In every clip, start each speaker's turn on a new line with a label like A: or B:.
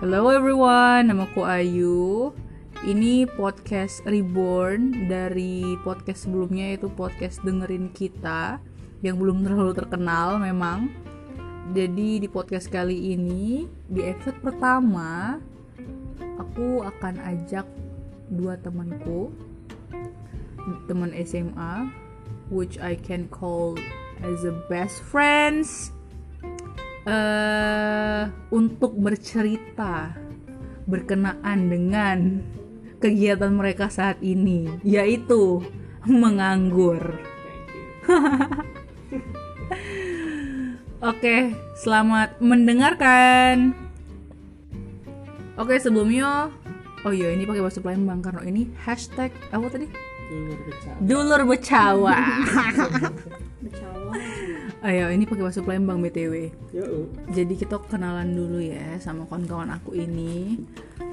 A: Hello everyone, namaku Ayu. Ini podcast Reborn dari podcast sebelumnya yaitu podcast Dengerin Kita yang belum terlalu terkenal memang. Jadi di podcast kali ini di episode pertama aku akan ajak dua temanku teman SMA which I can call as a best friends eh untuk bercerita berkenaan dengan kegiatan mereka saat ini yaitu menganggur. Oke, selamat mendengarkan. Oke, sebelumnya oh iya ini pakai bahasa Palembang karena ini hashtag apa tadi?
B: Dulur becak.
A: Dulur Becawa.
C: Becawa.
A: Ayo, ini pakai bahasa Palembang BTW.
B: Yo.
A: Jadi kita kenalan dulu ya sama kawan-kawan aku ini.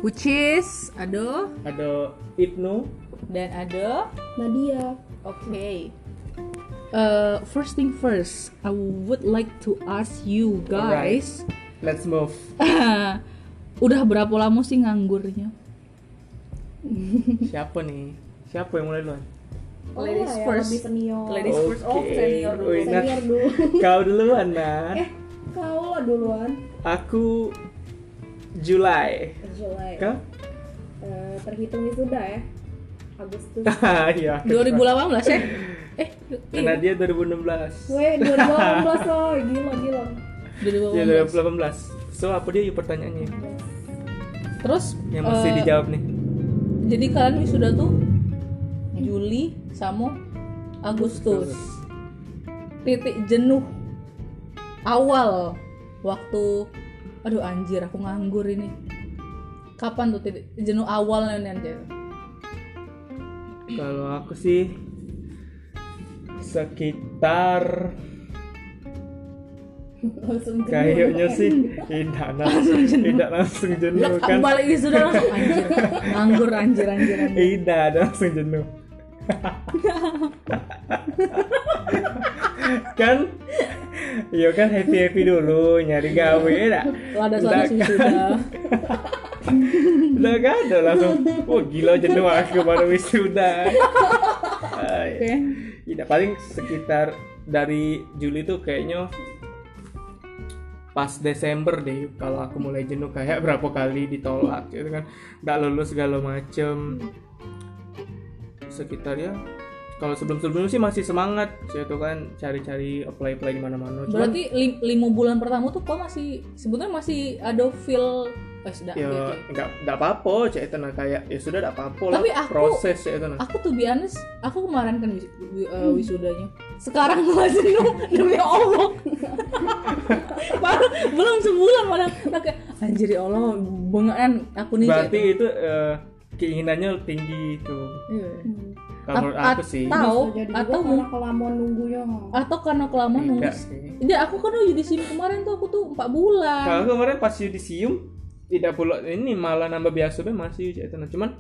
A: Which is Ado
B: Ada Ibnu.
A: dan Ado.
C: Nadia.
A: Oke. Uh, first thing first, I would like to ask you guys,
B: Let's move.
A: udah berapa lama sih nganggurnya?
B: Siapa nih? Siapa yang mulai duluan?
C: Oh,
A: Ladies
C: ya,
A: first.
C: Lebih senior.
A: Ladies- This first, oh,
B: Oke. nah.
A: senior dulu.
B: Wih, Nat,
C: Senior dulu.
B: Kau duluan, Nat.
C: eh, kau lah duluan.
B: Aku Julai.
C: Jelek.
B: Kau?
C: Eh, terhitung itu sudah ya. Agustus.
B: Iya.
A: 2018 ya? Eh,
B: Karena
A: iya,
B: dia 2016.
C: Weh, 2018 loh. Gila, gila.
A: 2018.
B: Iya, 2018. So, apa dia yuk pertanyaannya?
A: Terus
B: Yang mesti
A: eh,
B: dijawab nih.
A: Jadi kalian wisuda tuh Juli sama Agustus. Titik jenuh awal waktu aduh anjir aku nganggur ini. Kapan tuh titik jenuh awal nih anjir?
B: Kalau aku sih sekitar
C: Langsung jenuh.
B: kayaknya sih tidak langsung tidak langsung
A: Lah
B: jenuh
A: aku
B: kan
A: balik wisuda langsung anjir. Nganggur anjir anjir anjir.
B: Tidak, ada langsung jenuh. kan Iya kan happy happy dulu nyari gawe ya
A: Lada selada
B: Nggak.
A: wisuda.
B: udah gak ada langsung oh gila jenuh aku baru wisuda
A: Oke.
B: Ay. tidak paling sekitar dari Juli tuh kayaknya pas Desember deh kalau aku mulai jenuh kayak berapa kali ditolak gitu kan nggak lulus segala macem sekitar ya kalau sebelum sebelumnya sih masih semangat gitu kan cari-cari apply apply di mana-mana Cuman-
A: Berarti lim- lima bulan pertama tuh kok masih sebenarnya masih ada feel eh sudah
B: ya
A: oke, oke.
B: nggak nggak apa-apa cek itu nah kayak ya sudah nggak apa-apa lah
A: Tapi aku-
B: proses cek itu nah
A: aku tuh biasanya aku kemarin kan wis- wi- uh, wisudanya sekarang gua jenuh demi allah baru belum sebulan malah Nah, kayak anjir ya allah bengaan aku nih
B: berarti itu eh, keinginannya tinggi itu
A: Iya.
C: Hmm.
B: kalau menurut
A: At-
B: aku sih
A: atau
C: Bisa jadi juga
A: atau
C: karena
A: mung-
C: kelamaan nunggunya.
A: atau karena kelamaan nunggu
B: enggak sih
A: ya aku kan udah di sini kemarin tuh aku tuh empat
B: kalau
A: bulan
B: aku kemarin pas yudisium tidak pula ini malah nambah biasa be masih cek itu nah cuman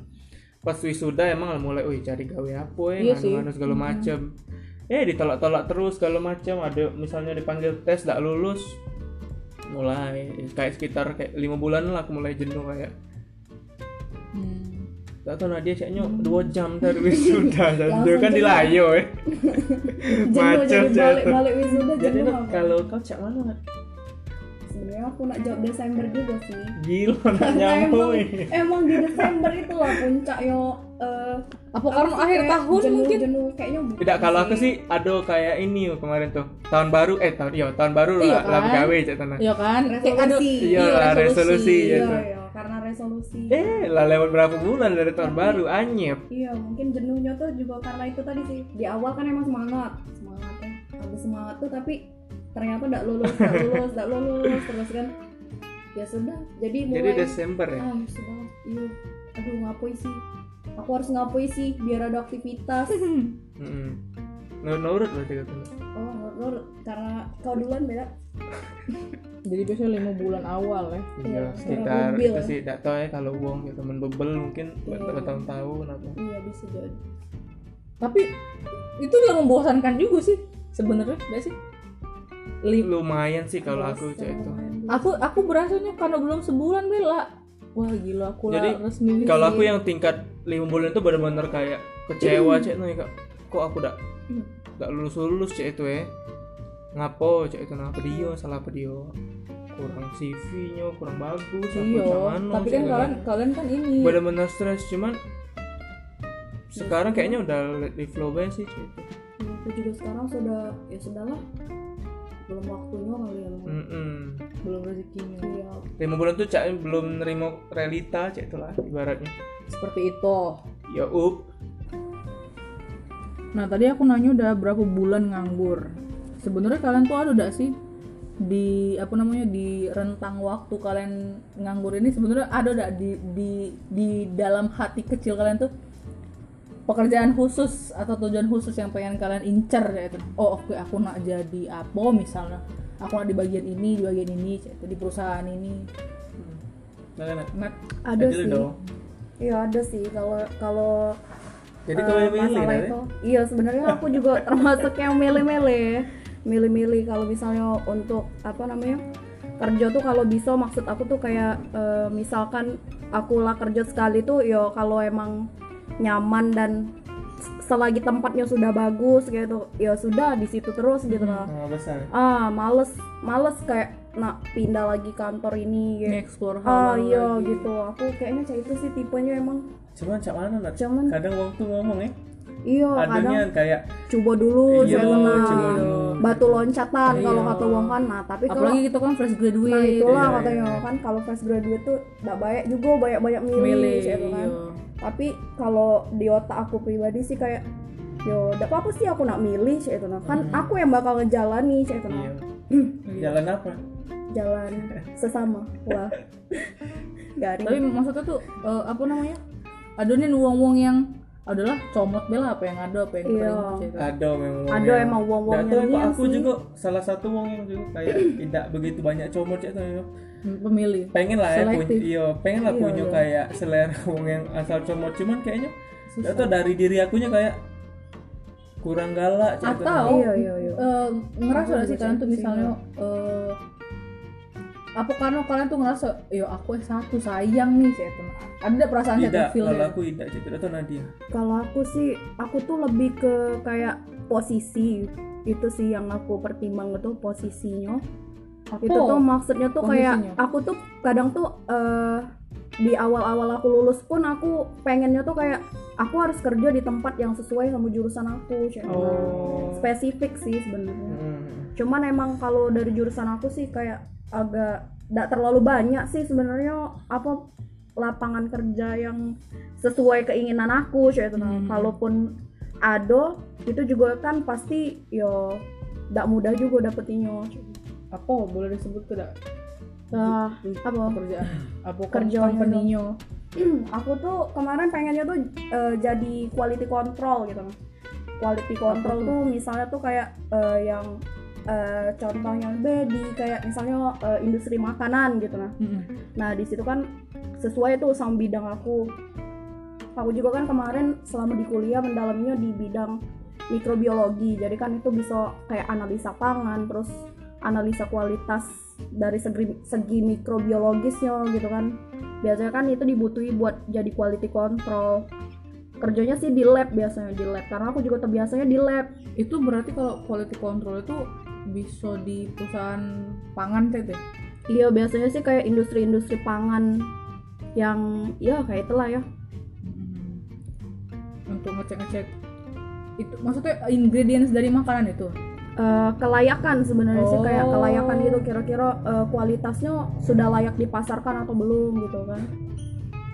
B: pas wisuda emang mulai wih cari gawe apa ya
A: Iya sih.
B: nganu-nganu segala macem eh ditolak-tolak terus segala macem ada misalnya dipanggil tes nggak lulus mulai kayak sekitar kayak lima bulan lah aku mulai jenuh kayak
A: Hmm.
B: Gak tau Nadia kayaknya dua jam dari wisuda dan dia
C: Hmm. Langsung
B: kan di
C: jenuh.
B: layo ya.
C: Jenuh jadi
B: Macet jatuh.
C: balik-balik wisuda
B: Jadi
C: jenuh.
B: Nat,
C: apa?
B: kalau kau cak mana Nat?
C: Sebenarnya aku nak jawab Desember juga sih.
B: Gila nak
C: Karena
B: nyambung. eh.
C: emang, emang di Desember itulah puncak yo eh,
A: apa karena
C: apa sih,
A: akhir
C: kayak
A: tahun
C: jenuh,
A: mungkin
C: jenuh. kayaknya bukan
B: Tidak kalau aku sih ada kayak ini yo, kemarin tuh tahun baru eh tahun iya tahun baru
A: Iya
B: lah lah
A: kan?
B: gawe cak tanah.
A: Iya kan Kayak ada-
C: Resolusi.
B: Iya lah resolusi ya.
C: iya,
B: tuh.
C: iya, karena resolusi
B: Eh lah lewat berapa bulan dari tahun
C: Tapi-
B: baru anyep.
C: iya mungkin jenuhnya tuh juga karena itu tadi sih di awal kan emang semangat semangatnya habis semangat tuh tapi ternyata tidak lulus tidak lulus tidak lulus terus kan ya sudah jadi mulai
B: Jadi Desember ya.
C: ah sudah iya aduh ngapoi sih aku harus ngapoi sih biar ada aktivitas
B: Heeh. Nur nurut berarti kata Nat.
C: oh nur karena kau duluan beda
A: jadi biasanya lima bulan awal ya
B: Iya,
C: Iya,
B: sekitar
C: mobil
B: itu
C: ya.
B: sih tidak tahu ya kalau uang ya temen bebel mungkin
C: Iya.
B: bertahun-tahun apa.
C: iya bisa jadi
A: tapi itu yang membosankan juga sih sebenarnya nggak sih Lim-
C: Iya,
B: Lumayan sih kalau aku cak itu.
A: aku aku berasanya karena belum sebulan bela wah gila aku
B: Jadi,
A: lah resmi gitu. Iya.
B: Kalau aku ya- yang tingkat lima bulan itu benar-benar kayak kecewa cek nih kak. Kok aku dak dak lulus lulus cek itu ya. Ngapo cek itu nah apa dia salah apa dia kurang CV-nya kurang bagus apa
A: Iya,
B: gimana,
A: tapi
B: cek
A: kan
B: itu
A: kalian kalian kan ini
B: benar-benar stres cuman sekarang kayaknya udah let it flow aja sih cek itu.
C: Ya, aku juga sekarang sudah ya sudahlah belum waktunya kali ya
B: Hmm.
C: belum-
B: Mm-mm.
A: belum rezekinya
C: Iya,
B: Lima bulan tuh cak belum nerima realita cek itulah ibaratnya.
A: seperti itu
B: Ya up
A: nah tadi aku nanya udah berapa bulan nganggur sebenarnya kalian tuh ada gak sih di apa namanya di rentang waktu kalian nganggur ini sebenarnya ada gak di di di dalam hati kecil kalian tuh pekerjaan khusus atau tujuan khusus yang pengen kalian incer kayak itu oh oke aku nak jadi apa misalnya aku nak di bagian ini di bagian ini kayak itu, di perusahaan ini
B: Nah, nah.
A: Nat,
C: ada
B: Jadi
C: sih
B: dong.
C: iya ada sih kalau kalau
B: Jadi
C: eh,
B: kalau yang milih
C: masalah
B: nanti.
C: itu iya sebenarnya aku juga termasuk yang milih-milih milih-milih kalau misalnya untuk apa namanya kerja tuh kalau bisa maksud aku tuh kayak eh, misalkan aku lah kerja sekali tuh yo kalau emang nyaman dan s- selagi tempatnya sudah bagus gitu ya sudah di situ terus gitu lah
B: Nah, besar.
C: ah males males kayak nak pindah lagi kantor ini gitu
A: explore
C: ah
A: hal
C: iya gitu aku kayaknya cah itu sih tipenya emang
B: Cuman cak mana Nat?
C: Cuman-
B: kadang waktu ngomong ya.
C: iya
B: Adanya
C: kadang
B: kayak
C: coba dulu
B: Iya,
C: saya tenang.
B: coba dulu. gitu,
C: batu loncatan
A: Iya.
C: kalau kata Wong kan nah tapi kalau
A: apalagi kita kan fresh graduate
C: nah itulah
B: Iya,
C: katanya
B: iya.
C: kan kalau fresh graduate tuh nggak banyak juga banyak banyak milih,
A: milih
C: saya tuh kan
A: iya.
C: tapi kalau di otak aku pribadi sih kayak yo nggak apa-apa sih aku nak milih saya tuh nah. kan aku yang bakal ngejalani saya tuh nah.
B: Hmm. iya. Jalan apa?
C: jalan sesama wah garing
A: tapi maksudnya tuh eh, apa namanya ada nih uang-uang yang adalah comot bela apa yang ada apa yang
C: Iya.
A: kering gitu.
B: Ada memang. wong
C: ada
B: yang-
C: emang wong-wong
B: Nggak tahu,
C: yang
B: emang
C: niat
B: aku
C: sih.
B: juga salah satu wong yang juga kayak tidak begitu banyak comot cek tuh.
A: Hmm, pemilih
B: Pengen lah ya punya,
A: Selektif.
B: iya, pengen lah
C: Iya,
B: punya
C: iya.
B: kayak selera wong yang asal comot cuman kayaknya nggak tahu dari diri akunya kayak kurang galak cek tuh.
A: atau
C: Iya, iya, iya.
A: eh, ngerasa
C: Aku
A: gak sih
C: juga
A: kalian tuh
C: sih,
A: misalnya eh, apa karena kalian tuh ngerasa yo aku S1 sayang nih saya tuh ada nggak perasaan gitu, saya
B: tidak
A: tuh feel
B: kalau aku tidak cek itu atau Nadia
C: Kalau aku sih, aku tuh lebih ke kayak posisi itu sih yang aku pertimbang itu posisinya. Itu tuh maksudnya tuh
A: Posisinya?
C: kayak aku tuh kadang tuh eh, di awal-awal aku lulus pun aku pengennya tuh kayak aku harus kerja di tempat yang sesuai sama jurusan aku, Cek. Oh.
B: Oh.
C: spesifik sih sebenarnya.
B: Hmm.
C: Cuman emang kalau dari jurusan aku sih kayak agak tidak terlalu banyak sih sebenarnya apa lapangan kerja yang sesuai keinginan aku cuy itu nah.
A: Hmm.
C: kalaupun ada itu juga kan pasti yo tidak mudah juga dapetinnya gitu. cuy.
A: apa boleh disebut tidak
C: nah, apa?
A: kerjaan apa
C: Kerjanya
A: company-nya?
C: aku tuh kemarin pengennya tuh eh, jadi quality control gitu quality
A: tuh?
C: control tuh misalnya tuh kayak eh, yang eh, contohnya bedi kayak misalnya eh, industri makanan gitu nah
A: Mm-mm.
C: Nah, di situ kan sesuai tuh sama bidang aku. Aku juga kan kemarin selama di kuliah mendalamnya di bidang mikrobiologi. Jadi kan itu bisa kayak analisa pangan, terus analisa kualitas dari segi, segi mikrobiologisnya gitu kan. Biasanya kan itu dibutuhi buat jadi quality control. Kerjanya sih di lab biasanya di lab karena aku juga terbiasanya di lab.
A: itu berarti kalau quality control itu bisa di perusahaan pangan teh teh
C: Iya, biasanya sih kayak industri-industri pangan yang ya kayak itulah ya.
A: Mm-hmm. untuk ngecek-ngecek itu maksudnya ingredients dari makanan itu
C: eh, kelayakan sebenarnya sih kayak
A: Oh.
C: kelayakan gitu kira-kira eh, kualitasnya sudah layak dipasarkan atau belum gitu kan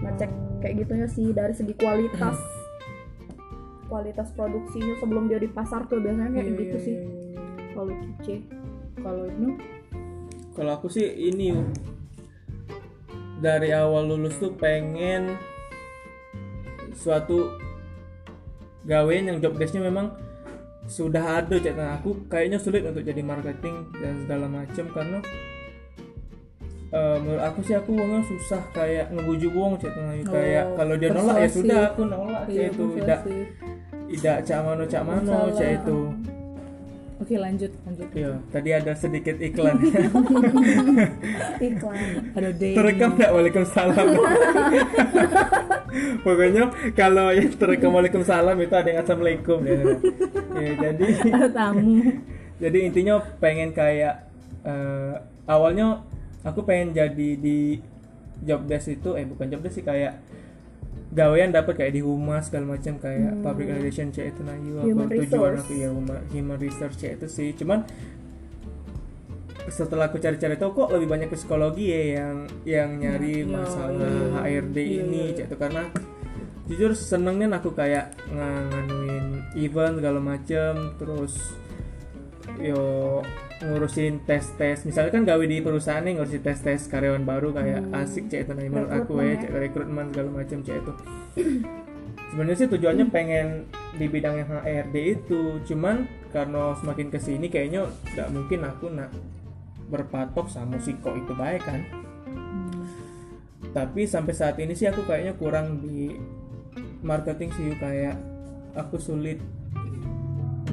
C: ngecek kayak gitunya sih dari segi kualitas kualitas produksinya sebelum dia di pasar tuh biasanya kayak
A: Iya,
C: gitu
A: iya,
C: sih
A: iya, iya.
C: kalau kece
A: kalau itu
B: kalau aku sih ini Yu. dari awal lulus tuh pengen suatu gawean yang job desk-nya memang sudah ada cek Nah, aku kayaknya sulit untuk jadi marketing dan segala macam karena eh, menurut aku sih aku uangnya susah kayak ngebujuk uang cek Nah, Yu. kayak
A: Oh,
B: kalau dia nolak ya
A: persuasif.
B: sudah aku nolak cek
A: Iya,
B: itu
A: betul
B: tidak
A: sih.
B: tidak cak mano cak mano
A: Masalah.
B: cak itu
A: Oke lanjut lanjut.
B: Iya, tadi ada sedikit iklan.
C: iklan
A: Ada day.
B: terekam nggak Waalaikumsalam. Pokoknya kalau yang terekam Waalaikumsalam itu ada yang Assalamualaikum ya. Ya, jadi
A: Ada tamu.
B: jadi intinya pengen kayak eh, awalnya aku pengen jadi di job desk itu eh bukan job desk sih kayak gawean dapat kayak di humas segala macam kayak public relation cek itu nah you
C: Hmm. Human
B: apa tujuan
C: resource.
B: aku ya huma- human E research cek itu sih cuman setelah aku cari-cari tahu kok lebih banyak ke psikologi ya yang yang
A: Iya,
B: nyari masalah HRD
C: Iya.
B: ini cek itu karena jujur senengnya aku kayak nga- nganuin event segala macem terus yo ngurusin tes tes misalnya kan gawe di perusahaan nih ngurusin tes tes karyawan baru kayak asik cek itu nah, menurut aku ya
C: Hmm. Rekrutmen ya.
B: cek rekrutmen segala macam cek itu sebenarnya sih tujuannya pengen di bidang yang HRD itu cuman karena semakin kesini kayaknya nggak mungkin aku nak berpatok sama siko itu baik kan
A: Hmm.
B: tapi sampai saat ini sih aku kayaknya kurang di marketing sih kayak aku sulit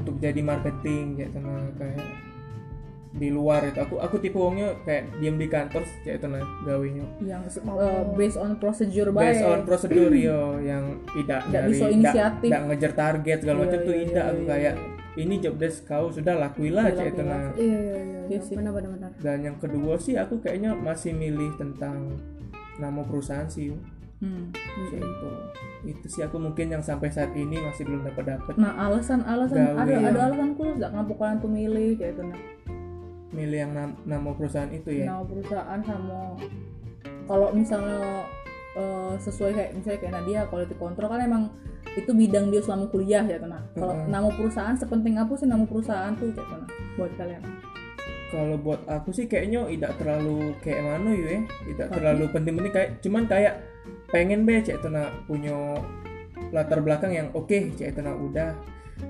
B: untuk jadi marketing kayak tenang kayak di luar itu aku aku tipe wongnya kayak diem di kantor kayak tenang gawenya
A: Yang eh, based on procedure
B: based
A: baik.
B: on prosedur yo yang tidak
A: Nggak bisa inisiatif.
B: tidak ngejar target segala
A: Iya,
B: macam tuh
A: iya,
B: tidak
A: iya,
B: aku
A: iya.
B: kayak ini job desk kau sudah lakuilah
A: Iya,
B: cek itu
A: lakuilah.
B: nah
C: iya iya iya,
A: Iya
C: iya
A: sih.
C: benar benar benar
B: dan yang kedua sih aku kayaknya masih milih tentang nama perusahaan sih
A: Hmm.
B: Kayak itu itu sih aku mungkin yang sampai saat ini masih belum dapat dapat
A: Nah alasan-alasan
B: Gawe
A: ada
B: yang-
A: ada alasan khusus nggak ngapa kalian tuh milih kayak gitu nah.
B: milih yang nam- nama perusahaan itu ya
A: Nama perusahaan sama kalau misalnya eh, sesuai kayak misalnya kayak Nadia quality control kan emang itu bidang dia selama kuliah ya kena. Kalau
B: Mm-mm.
A: nama perusahaan sepenting apa sih nama perusahaan tuh kayak kena buat kalian.
B: kalau buat aku sih kayaknya tidak terlalu kayak mana yo ya tidak terlalu penting-penting kayak cuman kayak pengen be cek tena punya latar belakang yang oke cek tena udah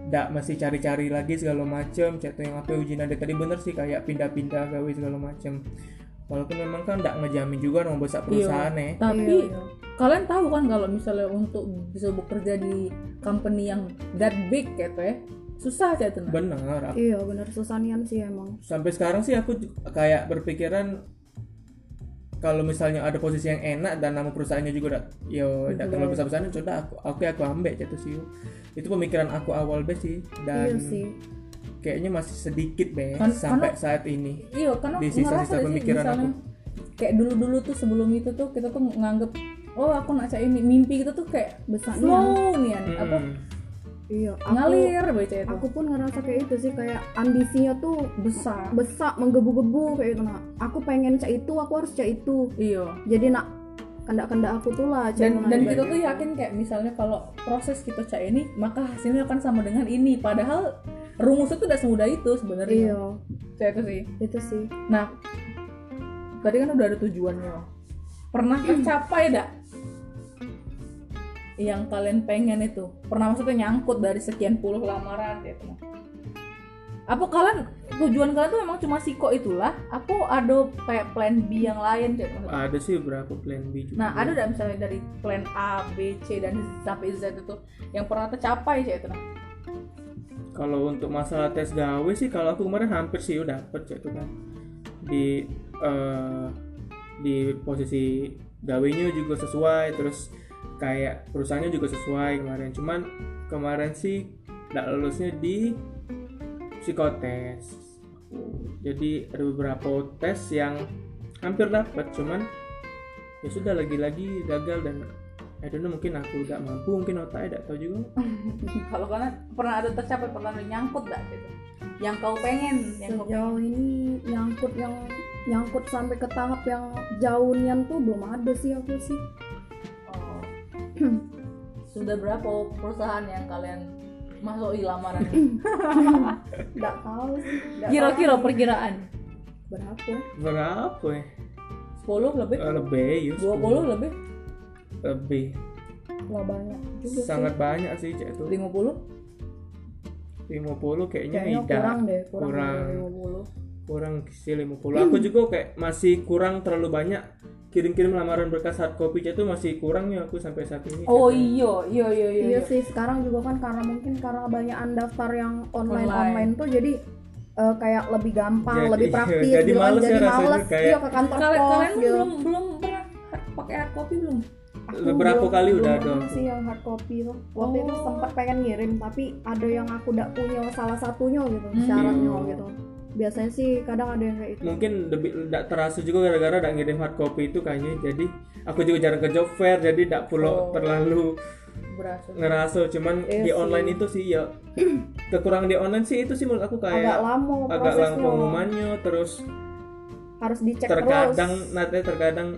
B: ndak masih cari-cari lagi segala macem cek tuh yang apa uji nada tadi bener sih kayak pindah-pindah gawe segala macem walaupun memang kan ndak ngejamin juga nomor besar perusahaan ya
A: Tapi
C: Iya, iya.
A: kalian tahu kan kalau misalnya untuk bisa bekerja di company yang that big kayak gitu ya susah kayak itu nah.
B: bener aku
C: iya benar susah nian sih emang
B: sampai sekarang sih aku ju- kayak berpikiran kalau misalnya ada posisi yang enak dan nama perusahaannya juga udah yo udah terlalu besar besarnya sudah aku oke aku ambek jatuh sih itu pemikiran aku awal be sih dan
C: iya sih
B: kayaknya masih sedikit be
A: Kan-
B: sampai
A: karena-
B: saat ini
A: Iya, karena
B: Di sisa-sisa
A: ngerasa deh sih,
B: pemikiran
A: misalnya,
B: aku.
A: Kayak dulu-dulu tuh sebelum itu tuh kita tuh nganggep oh aku nak cari ini mimpi kita tuh kayak
B: Iya.
C: besarnya
A: slow nih an, apa
B: Mm-mm.
C: iya aku,
A: ngalir baca itu.
C: aku pun ngerasa kayak itu sih kayak ambisinya tuh
A: besar.
C: besar menggebu-gebu kayak gitu nah aku pengen cak itu aku harus cak itu
A: Iya.
C: jadi nak kendak-kendak aku tuh lah cak
A: Dan
C: itu, nah,
A: dan
C: gitu.
A: kita tuh yakin kayak misalnya kalau proses kita cari ini maka hasilnya akan sama dengan ini padahal rumus itu tidak semudah itu sebenarnya.
C: iya
A: Kayak itu sih.
C: itu sih
A: Nah, tadi kan udah ada tujuannya. Pernah tercapai dak? Yang kalian pengen itu. Pernah maksudnya nyangkut dari sekian puluh lamaran gitu. Apa kalian tujuan kalian tuh memang cuma siko itulah? Apa ada kayak plan B yang lain gitu? maksudnya?
B: ada sih berapa plan B juga
A: Nah, ada dak misalnya dari plan A, B, C dan sampai Z itu yang pernah tercapai sih itu. nah?
B: kalau untuk masalah tes gawe sih kalau aku kemarin hampir sih udah dapet ya itu kan di eh, di posisi gawenya juga sesuai terus kayak perusahaannya juga sesuai kemarin cuman kemarin sih nggak lulusnya di psikotes jadi ada beberapa tes yang hampir dapet cuman ya sudah lagi-lagi gagal dan I don't know, mungkin aku nggak mampu mungkin otaknya nggak tahu juga
A: Kalau kalian pernah ada tercapai, pernah ada nyangkut dak gitu. Yang kau pengen, yang kau
C: sejauh ini nyangkut yang nyangkut sampai ke tahap yang jauh nian tuh belum ada sih aku sih
A: Oh. Sudah berapa perusahaan yang kalian masuk lamaran?
C: nggak tahu sih nggak
A: Kira-kira perkiraan.
C: tahu berapa
B: berapa ya
A: 10 lebih,
B: Eh, lebih ya,
A: 20 lebih,
B: lebih
C: lah banyak juga
B: sangat banyak sih cek itu
A: 50,
B: 50 kayaknya
C: kayaknya
B: tidak
C: kurang deh kurang,
B: kurang
C: dari
A: 50.
B: kurang sih 50
C: Hmm.
B: aku juga kayak masih kurang terlalu banyak kirim-kirim lamaran berkas hard copy cek itu masih kurang ya aku sampai saat ini cek.
A: Oh iya, iya iya iya.
C: Iya
A: iya.
C: sih sekarang juga kan karena mungkin karena banyak daftar yang online
A: Online.
C: online tuh jadi eh, kayak lebih gampang,
B: Jadi-
C: lebih
B: iya,
C: praktis
B: jadi
C: gitu kan.
B: males ya
C: jadi
B: rasanya,
C: males
B: kayak-
C: iya ke kantor
D: Kalian
C: pos
D: kalian
A: iya.
C: gitu.
D: belum belum pernah pakai hard copy belum?
B: Nah,
C: Aku
B: Beberapa
C: belum-
B: kali
C: belum
B: udah
C: pernah
B: dong.
C: sih yang hard copy tuh. Waktu itu
D: Oh.
C: sempat pengen ngirim tapi ada yang aku tidak punya salah satunya gitu,
D: Hmm.
C: syaratnya gitu. Biasanya sih kadang ada yang kayak gitu. itu.
B: mungkin lebih tidak terasa juga gara-gara tidak ngirim hard copy itu kayaknya jadi aku juga jarang ke job fair jadi tidak perlu
D: Oh.
B: terlalu
D: Berasa.
B: ngerasa cuman
C: Iya
B: di
C: sih.
B: online itu sih ya kekurangan di online sih itu sih menurut aku
C: agak
B: kayak
C: lama
B: agak
C: prosesnya.
B: lama pengumumannya terus
C: Harus dicek
B: terkadang
C: terus.
B: nanti terkadang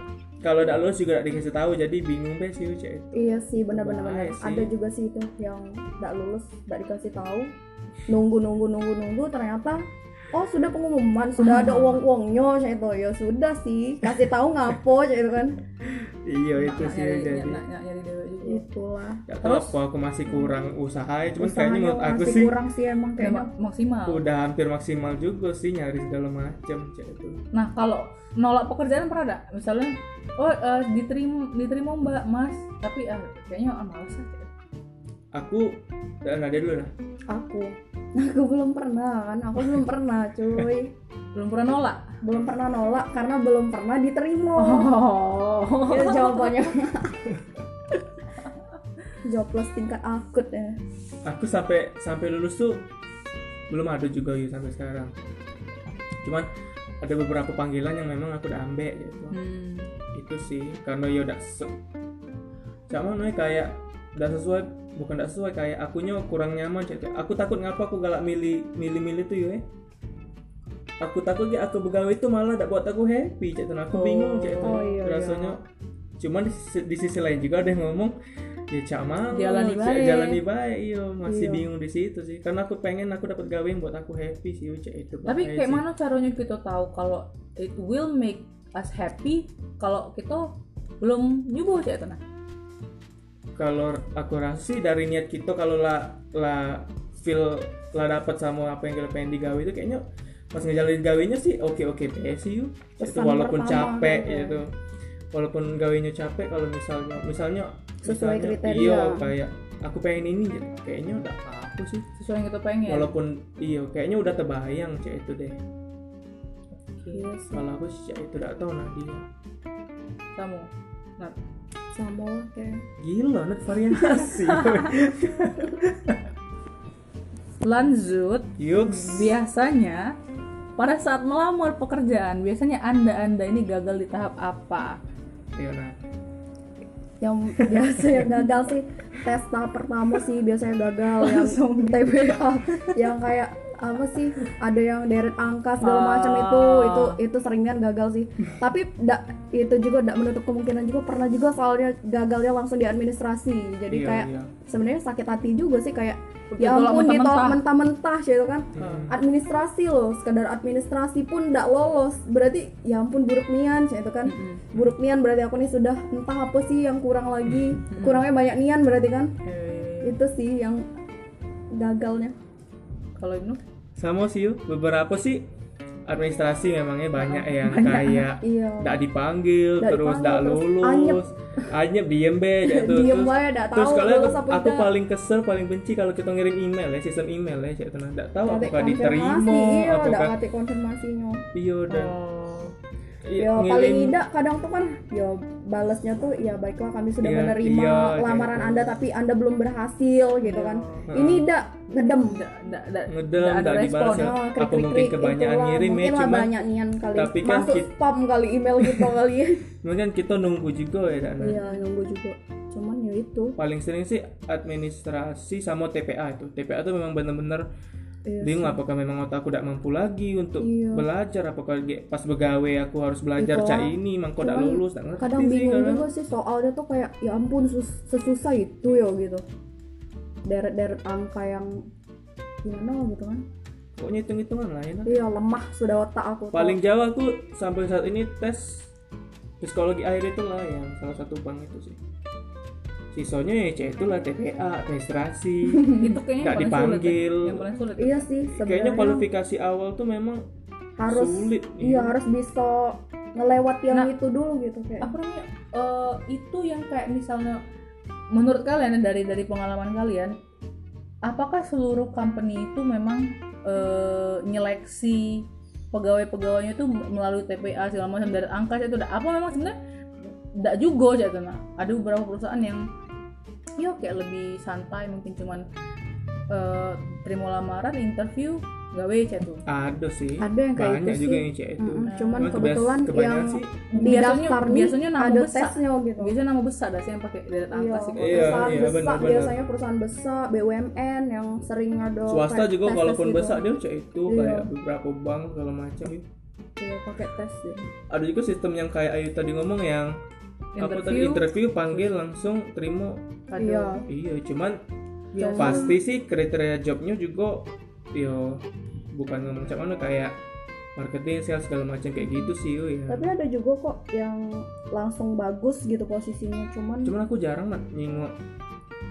B: kalau tidak lulus juga tidak dikasih tahu jadi bingung deh sih cek
C: Iya sih benar-benar
B: Bahaya
C: benar.
B: sih.
C: Ada juga sih itu yang nggak lulus, nggak dikasih tahu. Nunggu nunggu nunggu nunggu ternyata oh sudah pengumuman,
B: Ah.
C: sudah ada uang-uangnya saya itu ya sudah sih kasih tahu ngapo saya itu kan.
B: iya itu
D: Nak
B: sih
D: nyari-
B: jadi
D: nak- nak nyari dewe juga.
C: Itulah.
B: Gak tahu apa aku masih kurang usaha ya, cuman kayaknya
C: usahanya
B: menurut aku
C: masih
B: sih
C: kurang sih emang
A: Kayak
C: kayaknya.
A: ma- maksimal.
B: udah hampir maksimal juga sih nyari segala macam cek itu
A: Nah kalau nolak pekerjaan pernah ada? Misalnya, oh eh, diterima diterima mbak mas, tapi ah, kayaknya ah, males ah.
B: aku dan Nadia dulu lah
C: Aku. Aku belum pernah kan, aku belum pernah cuy.
A: belum pernah nolak.
C: Belum pernah nolak karena belum pernah diterima.
A: Oh,
C: Itu jawabannya. Jobless tingkat akut ya.
B: aku sampai sampai lulus tuh belum ada juga ya sampai sekarang cuman ada beberapa panggilan yang memang aku udah ambek gitu
A: Hmm.
B: itu sih karena ya udah se sama nih kayak udah sesuai bukan udah sesuai kayak akunya kurang nyaman cek aku takut ngapa aku galak milih milih milih tuh ya eh. aku takut ya aku begawe itu malah gak buat aku happy cek tuh. aku
A: Oh.
B: bingung cek tuh.
C: Oh, iya,
B: rasanya cuman di sisi, di sisi lain juga ada yang ngomong ya cak mau
A: Jalani
B: Cak,
A: baik."
B: jalani baik iya masih
C: Iya.
B: bingung di situ sih karena aku pengen aku dapat gawe yang buat aku happy sih cek itu
A: Tapi
B: bahaya
A: kayak
B: Iya sih.
A: mana caranya kita tahu kalau it will make us happy kalau kita belum nyoba cek tenang.
B: kalau aku rasa sih dari niat kita kalau lah lah feel lah dapat sama apa yang kita pengen digawe itu kayaknya pas ngejalanin gawenya sih oke oke okay, sih yuk itu
C: Pesan
B: walaupun
C: pertama
B: capek
C: gitu.
B: gitu walaupun gawenya capek kalau misalnya misalnya
C: Sesuai
B: misalnya,
C: kriteria.
B: iya kayak aku pengen ini gitu. kayaknya udah apa sih
A: sesuai yang kita pengen.
B: walaupun iya kayaknya udah terbayang cek itu deh
A: Oke,
C: Iya sih.
B: kalau aku sih cek itu udah tahu nah, Nadia
A: kamu. Nah,
C: Sama lah kayak.
B: gila net variasi
A: lanjut
B: yuks
A: biasanya pada saat melamar pekerjaan biasanya anda-anda ini gagal di tahap apa?
B: iya nah
C: yang biasa yang gagal sih tes tahap pertama sih biasanya gagal yang TBK yang kayak apa sih ada yang deret angka segala
A: Ah.
C: macam itu itu itu seringnya gagal sih tapi da- itu juga tidak menutup kemungkinan juga pernah juga soalnya gagalnya langsung di administrasi jadi
B: Iya,
C: kayak
B: iya.
C: sebenarnya sakit hati juga sih kayak
A: Betul,
C: ya
A: tolak
C: ampun ditolak
A: mentah-mentah.
C: mentah-mentah gitu kan
B: Hmm.
C: administrasi loh sekadar administrasi pun tidak lolos berarti ya ampun buruk nian gitu kan
B: Hmm.
C: buruk nian berarti aku nih sudah entah apa sih yang kurang lagi
B: Hmm.
C: kurangnya banyak nian berarti kan
A: Eh,
C: itu sih yang gagalnya
A: kalau Ibnu
B: sama sih yuk. beberapa sih administrasi memangnya banyak yang kayak
C: iya
B: tidak dipanggil
C: Nggak
B: terus tidak
C: dipanggil, terus
B: lulus hanya diem be kayak itu.
C: diem
B: terus,
C: aja tidak tahu
B: terus kalau aku,
C: lolos apa
B: aku
C: nggak.
B: paling kesel paling benci kalau kita ngirim email ya sistem email ya cek tenang tidak tahu
C: Nggak
B: apakah
C: konfirmasi,
B: diterima
C: iya tidak
B: apakah
C: ngerti konfirmasinya
B: iya dan
A: Oh,
B: iya,
C: ya
B: ngirim-
C: paling tidak kadang tuh kan ya balasnya tuh ya baiklah kami sudah
B: Iya,
C: menerima
B: iya, gitu.
C: lamaran
B: Iya.
C: anda tapi anda belum berhasil gitu kan ini tidak ngedem
A: nggak nggak- nggak-
B: ngedem
A: nggak ada
B: tidak
A: respon.
B: dibalas ya.
C: Nah,
B: apa mungkin
C: krik-krik
B: kebanyakan
C: itulah.
B: ngirim ya
C: mungkin lah
B: cuman
C: banyak nian kali
B: tapi kan Nah.
C: masuk
B: kita-
C: spam kali email gitu kali ya
B: mungkin kita nunggu juga ya dan
C: iya nunggu juga cuman ya itu
B: paling sering sih administrasi sama TPA itu TPA itu memang benar-benar
C: Iya
B: bingung apakah memang otak aku tidak mampu lagi untuk
C: Iya.
B: belajar apakah ge- pas begawe aku harus belajar
C: Iya.
B: cak ini mangko tidak
C: Cuman
B: lulus tak ngerti
C: kadang
B: sih,
C: bingung
B: kadang.
C: juga sih soalnya tuh kayak ya ampun sus- sesusah itu ya gitu deret-deret angka yang gimana gitu kan
B: pokoknya hitung-hitungan lah ya
C: iya lemah sudah otak aku tuh.
B: paling jauh aku sampai saat ini tes psikologi air itu lah yang salah satu bank itu sih sisanya ya cek itulah TPA administrasi
A: itu kayaknya
B: Nggak
A: yang paling sulit ya.
B: dipanggil.
A: yang paling sulit
C: iya sih
B: kayaknya
C: sebenarnya
B: kualifikasi awal tuh memang
C: harus
B: sulit
C: iya harus bisa ngelewat yang
A: Nah,
C: itu dulu gitu kayak
A: apa namanya eh, itu yang kayak misalnya ya, menurut kalian dari dari pengalaman kalian apakah seluruh company itu memang eh, nyeleksi pegawai-pegawainya tuh melalui TPA segala macam dari angka itu udah apa memang sebenarnya tidak juga sih itu nah. ada beberapa perusahaan yang ya kayak lebih santai mungkin cuman eh, terima lamaran interview gawe cah tuh
B: ada sih
C: ada yang kayak
B: banyak
C: itu
B: juga
C: sih
B: yang cek itu
C: Mm-mm, cuman
B: Cuma kebas-
C: kebetulan yang
B: kebanyakan sih
C: di
A: Biasanya-
C: daftar nih
A: biasanya nama
C: ada
A: besar.
C: tesnya gitu
A: biasanya nama besar dah sih yang pakai deret
C: Iya,
A: atas sih
B: Iya,
C: perusahaan
B: iya,
C: besar
B: benar-benar.
C: biasanya perusahaan besar BUMN yang sering ada
B: swasta
C: kayak
B: juga
C: tes-tes
B: walaupun
C: gitu.
B: besar dia cek itu
C: Iya.
B: kayak beberapa bank segala macam gitu.
C: Iya, pakai tes ya.
B: ada juga sistem yang kayak Ayu tadi ngomong yang apa tadi
A: interview
B: interview panggil langsung terima
A: aduh,
C: Iya.
B: iya cuman
C: Ah.
A: biasa.
B: pasti sih kriteria jobnya juga yo bukan ngomong macam mana kayak marketing sales segala macam kayak gitu sih yo ya
C: Tapi ada juga kok yang langsung bagus gitu posisinya cuman
B: cuman aku jarang mat nyimak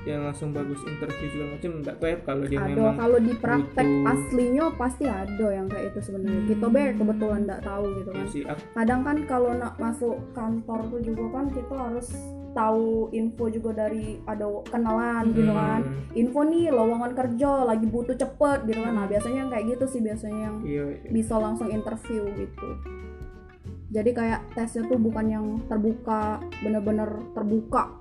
B: yang langsung bagus interview segala macam nggak tahu ya kalau dia
C: ada
B: memang
C: kalau di praktek
B: butuh-
C: aslinya pasti ada yang kayak itu
A: Hmm.
C: sebenarnya. Kita be kebetulan nggak tahu gitu
B: ya
C: kan.
B: sih aku-
C: Kadang kan kalau nak masuk kantor tuh juga kan kita harus tahu info juga dari ada kenalan gitu kan.
B: Hmm,
C: Info nih lowongan kerja lagi butuh cepet gitu kan. Nah, biasanya yang kayak gitu sih biasanya yang
B: iya
C: bisa langsung interview gitu jadi kayak tesnya tuh bukan yang terbuka bener-bener terbuka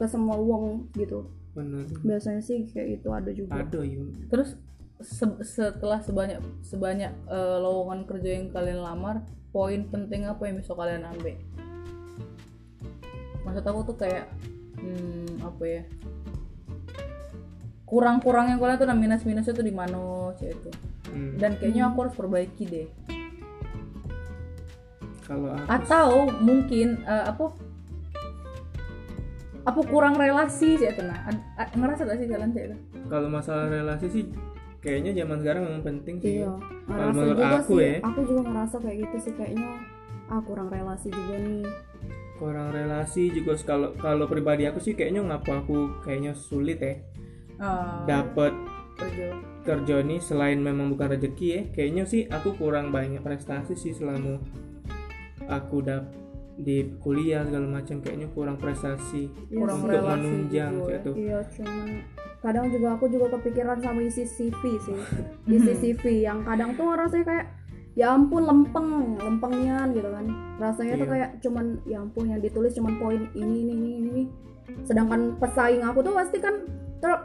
C: ke semua uang gitu
B: benar
C: biasanya sih kayak itu ada juga
B: ada yo
A: terus se- setelah sebanyak sebanyak eh, lowongan kerja yang kalian lamar poin penting apa yang bisa kalian ambil maksud aku tuh kayak hmm, apa ya kurang-kurang yang kalian tuh nah minus-minusnya tuh di mana cek itu
B: Hmm,
A: dan kayaknya aku harus perbaiki deh
B: kalau aku
A: atau mungkin eh, apa apa kurang relasi cek itu nah Ad- ad- ngerasa gak sih kalian cek itu
B: kalau masalah relasi sih kayaknya zaman sekarang memang penting sih
C: iya
B: yo. Kalau
C: ngerasa
B: menurut
C: juga
B: aku
C: sih
B: ya.
C: aku juga ngerasa kayak gitu sih kayaknya ah kurang relasi juga nih
B: kurang relasi juga kalau kalau pribadi aku sih kayaknya ngapa aku kayaknya sulit ya
A: Eh,
B: dapat
A: kerja
B: kerja ini selain memang bukan rezeki ya kayaknya sih aku kurang banyak prestasi sih selama aku dap di kuliah segala macam kayaknya kurang prestasi
C: Iya
A: Kurang
C: sih.
B: untuk
A: relasi
B: menunjang
A: juga ya.
B: gitu
C: iya cuman kadang juga aku juga kepikiran sama isi CV Iya sih
B: Mhm.
C: isi
A: Hmm.
C: CV yang kadang tuh rasanya kayak ya ampun lempeng lempengian gitu kan rasanya tuh
B: Iya.
C: kayak cuman ya ampun yang ditulis cuman poin ini ini ini ini ini. sedangkan pesaing aku tuh pasti kan truk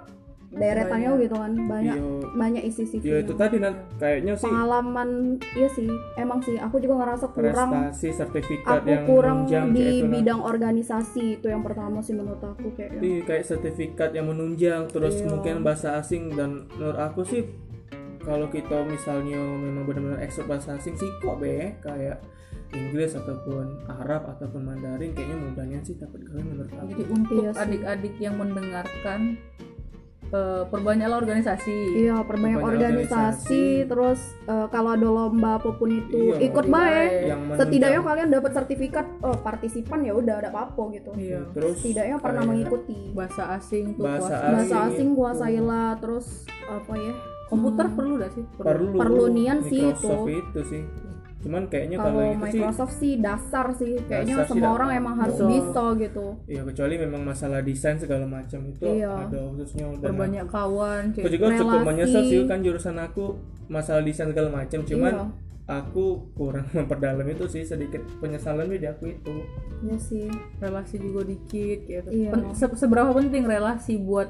C: deretannya
A: Banyak.
C: gitu kan banyak gitu.
B: Yo,
C: banyak isi CV
B: yo Iya. itu tadi nan- kayaknya sih
C: pengalaman iya sih emang sih aku juga ngerasa kurang
B: prestasi sertifikat
C: aku
B: yang
C: kurang
B: menunjang kayak
C: di
B: itu, Nan.
C: bidang organisasi itu yang pertama sih menurut aku kayak gitu.
B: Iya, kayak sertifikat yang menunjang terus
C: Iya.
B: mungkin bahasa asing dan menurut aku sih kalau kita misalnya memang benar-benar expert bahasa asing sih kok be kayak Inggris ataupun Arab ataupun Mandarin kayaknya mudahnya sih dapat gawe menurut aku.
A: Jadi untuk
C: Iya sih.
A: adik-adik yang mendengarkan eh, perbanyaklah organisasi.
C: Iya, perbanyak
B: Perbanyak
C: organisasi,
B: organisasi.
C: terus eh, kalau ada lomba apapun itu
B: Iya,
C: ikut
B: ikut
C: baik.
B: Yang menunjang- Iya,
C: Setidaknya kalian dapat sertifikat oh, partisipan ya udah ada apa-apa gitu.
A: Iya.
B: Terus
C: Setidaknya pernah
B: kayak
C: mengikuti
A: Bahasa asing tuh
B: Bahasa
A: kuasa.
C: bahasa
B: asing
C: asing
B: itu.
C: kuasailah, terus apa ya?
A: Komputer
C: hmm,
A: perlu gak sih?
B: perlu
C: perlu nian sih
B: Microsoft itu. sih. Cuman kayaknya Ya, kalau
C: kalau
B: itu sih
C: Microsoft sih dasar sih, kayaknya
B: Dasar sih
C: semua
B: dapat.
C: orang emang harus
A: Betul.
C: bisa gitu.
B: ya kecuali memang masalah desain segala macam itu
C: Iya.
B: ada khususnya dan
A: Perbanyak kawan.
B: aku
A: Kayak.
B: juga cukup
C: relasi.
B: menyesal sih kan jurusan aku masalah desain segala macam cuman
C: Iya.
B: aku kurang memperdalam itu sih sedikit penyesalan di aku itu
C: Iya sih.
A: Relasi juga dikit gitu.
C: Iya.
A: Pen- se- seberapa penting relasi buat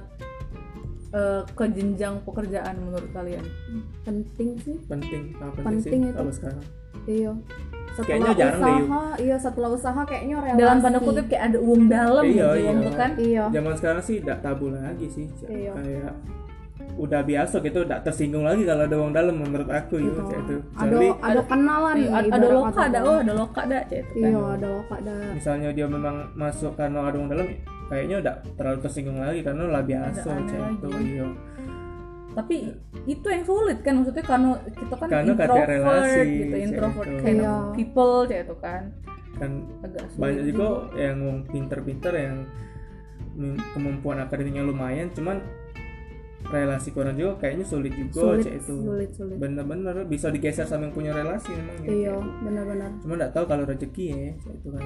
A: eh, ke jenjang pekerjaan menurut kalian?
C: Penting sih.
B: penting ah, penting,
C: Penting
B: sih
C: itu.
B: kalau sekarang
C: Iya.
B: Kayaknya
C: Setelah
B: jarang deh, Yu.
C: usaha, iya setelah usaha kayaknya relasi.
A: Dalam tanda kutip kayak ada uang dalam
B: Iya,
A: gitu
B: iya.
A: Om, kan?
C: Iya.
B: zaman sekarang sih tidak tabu lagi sih Cak.
C: Iya.
B: kayak udah biasa gitu tidak tersinggung lagi kalau ada uang dalam menurut aku gitu
C: gitu.
B: Cak, itu
C: ada
B: kecuali
C: ada kenalan
A: Iya,
C: nih,
A: ada- ada
C: ibarat
A: loka
C: kata. ya.
A: ada oh ada loka ada kayak itu kan.
C: iya ada loka ada
B: misalnya dia memang masuk karena ada uang dalam kayaknya udah terlalu tersinggung lagi karena lah biasa
A: Ada aneh
B: Cak, itu
A: lagi.
B: iya
A: tapi itu yang sulit kan maksudnya karena kita kan
B: Karena kata
A: introvert
B: relasi,
A: gitu
B: kayak
A: introvert
B: gitu.
A: kind of
C: Iya.
A: people kayak itu kan
B: kan
A: agak sulit
B: banyak juga yang uang pinter-pinter yang mem- kemampuan akademiknya lumayan cuman relasi kurang juga kayaknya sulit juga
C: sulit
B: Cak, itu
C: sulit sulit
B: bener-bener bisa digeser sama yang punya relasi memang ya.
C: iya benar-benar
B: cuma nggak tahu kalau rezeki ya kayak itu kan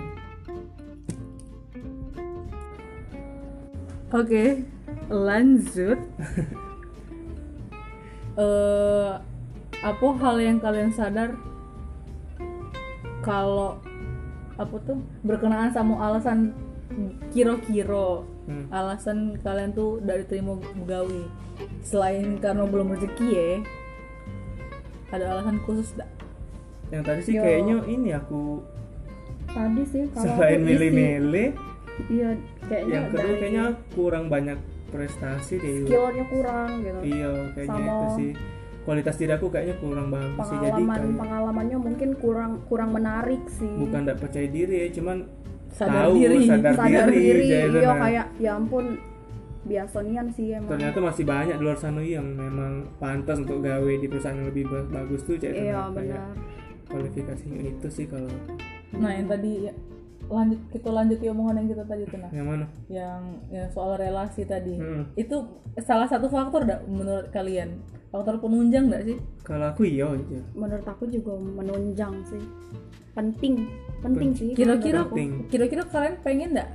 A: oke lanjut eh apa hal yang kalian sadar kalau apa tuh berkenaan sama alasan kiro-kiro
B: Hmm.
A: alasan kalian tuh dari terima gawe selain karena belum rezeki ya ada alasan khusus gak?
B: yang tadi sih
C: Yo.
B: kayaknya ini aku
C: tadi sih Iya. kalau
B: selain
C: aku isi-
B: milih-milih
C: iya kayaknya
B: yang kedua
C: dari
B: kayaknya kurang banyak prestasi deh Yu.
C: skillnya kurang gitu
B: iya kayaknya
C: Sama-
B: itu sih kualitas diriku kayaknya kurang bagus sih jadi
C: pengalaman
B: kayak
C: pengalamannya mungkin kurang kurang menarik sih
B: bukan tidak percaya diri ya cuman
A: sadar
B: tahu
A: diri
B: sadar,
C: sadar
B: diri,
C: diri,
B: jadi
C: iya
B: nah,
C: kayak ya ampun biasonian sih emang
B: ternyata masih banyak di luar sana yang memang pantas untuk gawe di perusahaan yang lebih ba- bagus tuh jadi
C: iya
B: nah, kayak
C: benar
B: kualifikasinya itu sih kalau
A: nah yang tadi ya, lanjut kita lanjut ya omongan yang kita tadi tuh nah
B: yang mana
A: yang, yang soal relasi
C: Iya.
A: tadi
B: Hmm.
A: itu salah satu faktor gak menurut kalian faktor penunjang gak sih
B: kalau aku iya aja
C: menurut aku juga menunjang sih penting penting sih
A: kira-kira
B: Penting.
A: kira-kira kalian pengen nggak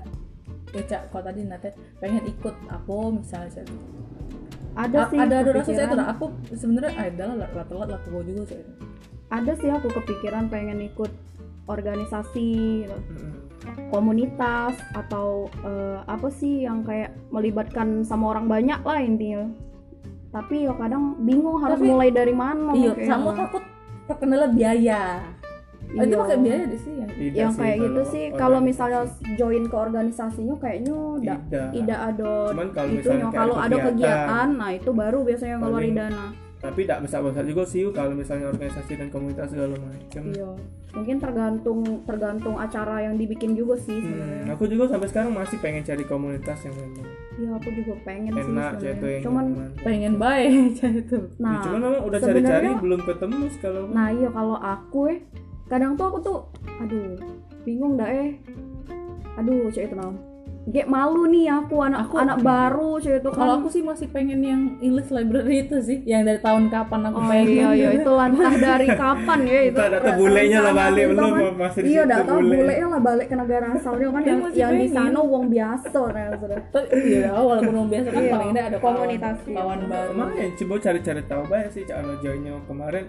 A: ya cak kalau tadi nate pengen ikut apa misalnya Cak?
C: ada
A: A-
C: sih
A: ada ada rasa saya
C: kepikiran.
A: tuh nah, aku sebenarnya ada lah lah telat lah gue juga saya
C: ada sih aku kepikiran pengen ikut organisasi gitu.
B: Mm-mm.
C: komunitas atau eh, apa sih yang kayak melibatkan sama orang banyak lah intinya tapi ya kadang bingung harus
A: Tapi-
C: mulai dari mana
A: iya
C: kayak
A: kamu
C: mah.
A: takut terkena biaya Oh, itu
C: Iya.
A: pakai biaya deh sih ya
B: Tidak
C: yang
B: sih
C: kayak gitu sih
B: Iya,
C: kalau misalnya
B: organisasi.
C: join ke organisasinya kayaknya tidak
B: tidak
C: tidak ada
B: cuman Iya. kalau misalnya
C: itunya
B: kayak
C: kalau ada kegiatan nah itu baru biasanya ngeluarin
B: Paling-
C: dana
B: tapi tidak besar-besar juga sih Yu, kalau misalnya organisasi dan komunitas segala macam
C: iya mungkin tergantung tergantung acara yang dibikin juga sih
B: Hmm,
C: sebenarnya
B: aku juga sampai sekarang masih pengen cari komunitas yang memang
C: iya aku juga pengen sih
B: enak
C: sebenarnya.
B: jatuh yang
C: cuman
B: nyaman. Ya,
A: pengen baik Cak, itu
C: nah
B: cuman memang udah cari-cari
C: sebenarnya-
B: belum ketemu sih kalau aku.
C: nah iya kalau aku eh kadang tuh aku tuh aduh bingung dah eh aduh cewek itu nah Gek malu nih aku anak
A: Aku-
C: anak baru cewek itu
A: kalau
C: kan.
A: aku sih masih pengen yang English library itu sih yang dari tahun kapan aku
C: Oh
A: pengen
C: iya iya itu lantah dari kapan ya itu.
B: Entah data bulenya lah balik
C: Itu
B: belum
C: kan.
B: masih di
C: Iya
B: situ
C: data
B: bule.
C: bulenya lah balik ke negara asalnya kan
A: Dia
C: yang,
A: masih
C: yang di
A: pengen.
C: sana uang biasa nah, sudah.
A: Tapi, iya walaupun orang biasa kan
C: Iya,
A: paling tidak ada kawan,
C: komunitas, iya.
A: kawan baru
B: Lumayan, coba cari-cari tahu banyak sih cara joinnya kemarin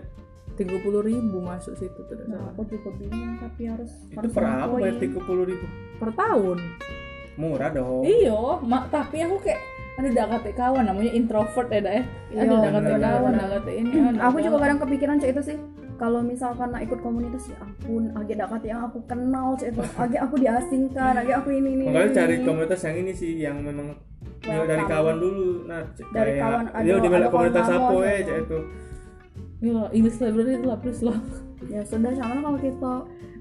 A: tiga puluh ribu masuk situ tuh
C: Nah, aku juga bingung tapi harus
B: itu
C: harus
B: per apa ya,
C: ngapain.
B: bayar tiga puluh ribu
A: per tahun
B: murah dong
A: Iya, mak tapi aku kayak ada dak kate kawan namanya introvert ya dak ya. Ada
C: Iya,
A: dak kate
B: bener.
A: kawan, dak kate ini. ada
C: Aku juga
B: Iya.
A: kawan.
C: kadang kepikiran cek itu sih kalau misalkan nak ikut komunitas ya ampun age dakat yang aku kenal cek itu age aku diasingkan age aku ini ini
B: makanya
C: ini,
B: cari
C: ini.
B: komunitas yang ini sih yang memang
C: Welcome.
B: dari kawan dulu nah c-
C: Dari
B: kayak,
C: kawan ada-
B: dia di mana
C: ada
B: komunitas
C: kawan
B: apa
C: kamu,
B: ya
C: ada.
B: cek itu
A: Iya, English library itu lah plus lah.
C: ya sudah sama kalau kita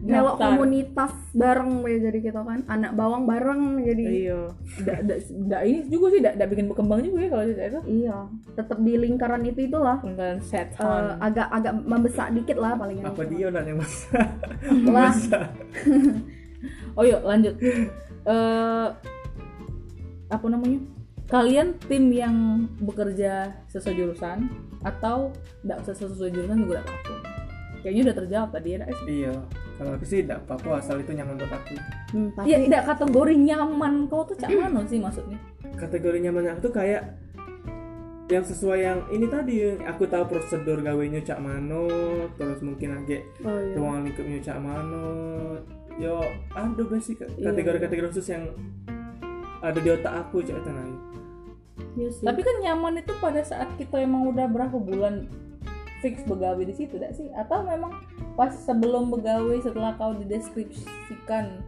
C: melok
A: Daftar.
C: komunitas bareng ya jadi kita kan anak bawang bareng jadi
A: Iya. Dak dak dak ini juga sih dak dak bikin berkembang juga ya kalau cerita itu.
C: Iya, tetap di lingkaran itu itulah.
A: Kemudian set
C: Eh,
A: on.
C: agak agak membesar dikit lah paling
B: apa dia Iya. nak yang masa
C: lah
A: Oh yuk lanjut. Eh apa namanya? Kalian tim yang bekerja sesuai jurusan atau tidak sesuai jurusan juga tidak apa Kayaknya udah terjawab tadi ya. Dak?
B: iya kalau aku sih tidak apa-apa asal itu nyaman buat aku
C: Hmm, tapi
A: Ya tidak kategori nyaman kau tuh cak mana sih maksudnya?
B: kategori nyaman aku tuh kayak yang sesuai yang ini tadi yang aku tahu prosedur gawenya cak mano terus mungkin agak
C: oh, iya.
B: ruang lingkupnya cak mano yo ada basic kategori-kategori khusus yang ada di otak aku cak tenang
C: Iya sih.
A: Tapi kan nyaman itu pada saat kita emang udah berapa bulan fix begawe di situ, tidak sih? Atau memang pas sebelum begawe setelah kau dideskripsikan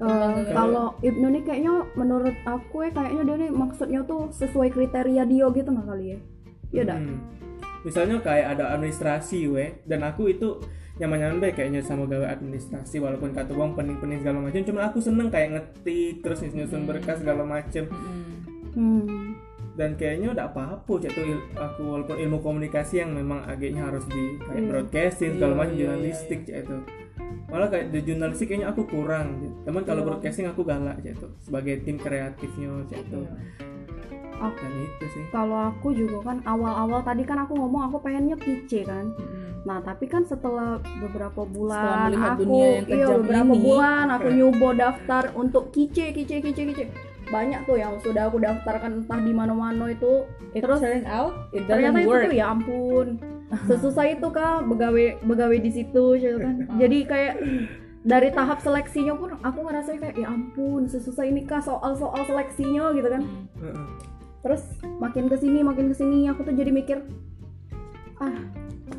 C: Eh,
A: tentang-
C: kalau Ibnu nih kayaknya menurut aku ya kayaknya dia nih maksudnya tuh sesuai kriteria dia gitu nggak kali ya? Iya dah.
B: Hmm. Misalnya kayak ada administrasi we dan aku itu nyaman-nyaman baik kayaknya sama gawe administrasi walaupun kata uang pening-pening segala macam cuman aku seneng kayak ngetik terus nyusun berkas segala macam
A: Mm-mm.
C: Hmm.
B: dan kayaknya udah apa-apa cak tuh il- aku walaupun ilmu komunikasi yang memang agaknya harus di kayak
C: Hmm.
B: broadcasting
A: Iya,
B: kalau macam
A: iya,
B: jurnalistik cak itu malah kayak di jurnalistik kayaknya aku kurang gitu. teman kalau
C: Iya.
B: broadcasting aku galak cak itu sebagai tim kreatifnya cak itu
C: Iya.
B: dan itu sih
C: Kalau aku juga kan awal-awal tadi kan aku ngomong aku pengennya PC kan.
A: Mm-mm.
C: Nah tapi kan setelah beberapa
A: Setelah
C: bulan
A: melihat
C: aku
A: dunia yang
C: iya
A: kejam
C: beberapa
A: ini.
C: bulan aku nyoba daftar untuk kice kice kice kice banyak tuh yang sudah aku daftarkan entah di mana-mana itu
A: It
C: Terus-
A: turn out it doesn't
C: ternyata itu
A: work.
C: tuh ya ampun sesusah itu kak begawe begawe di situ gitu kan jadi kayak dari tahap seleksinya pun aku ngerasain kayak ya ampun sesusah ini kak soal-soal seleksinya gitu kan
B: Heeh.
C: terus makin kesini makin kesini aku tuh jadi mikir ah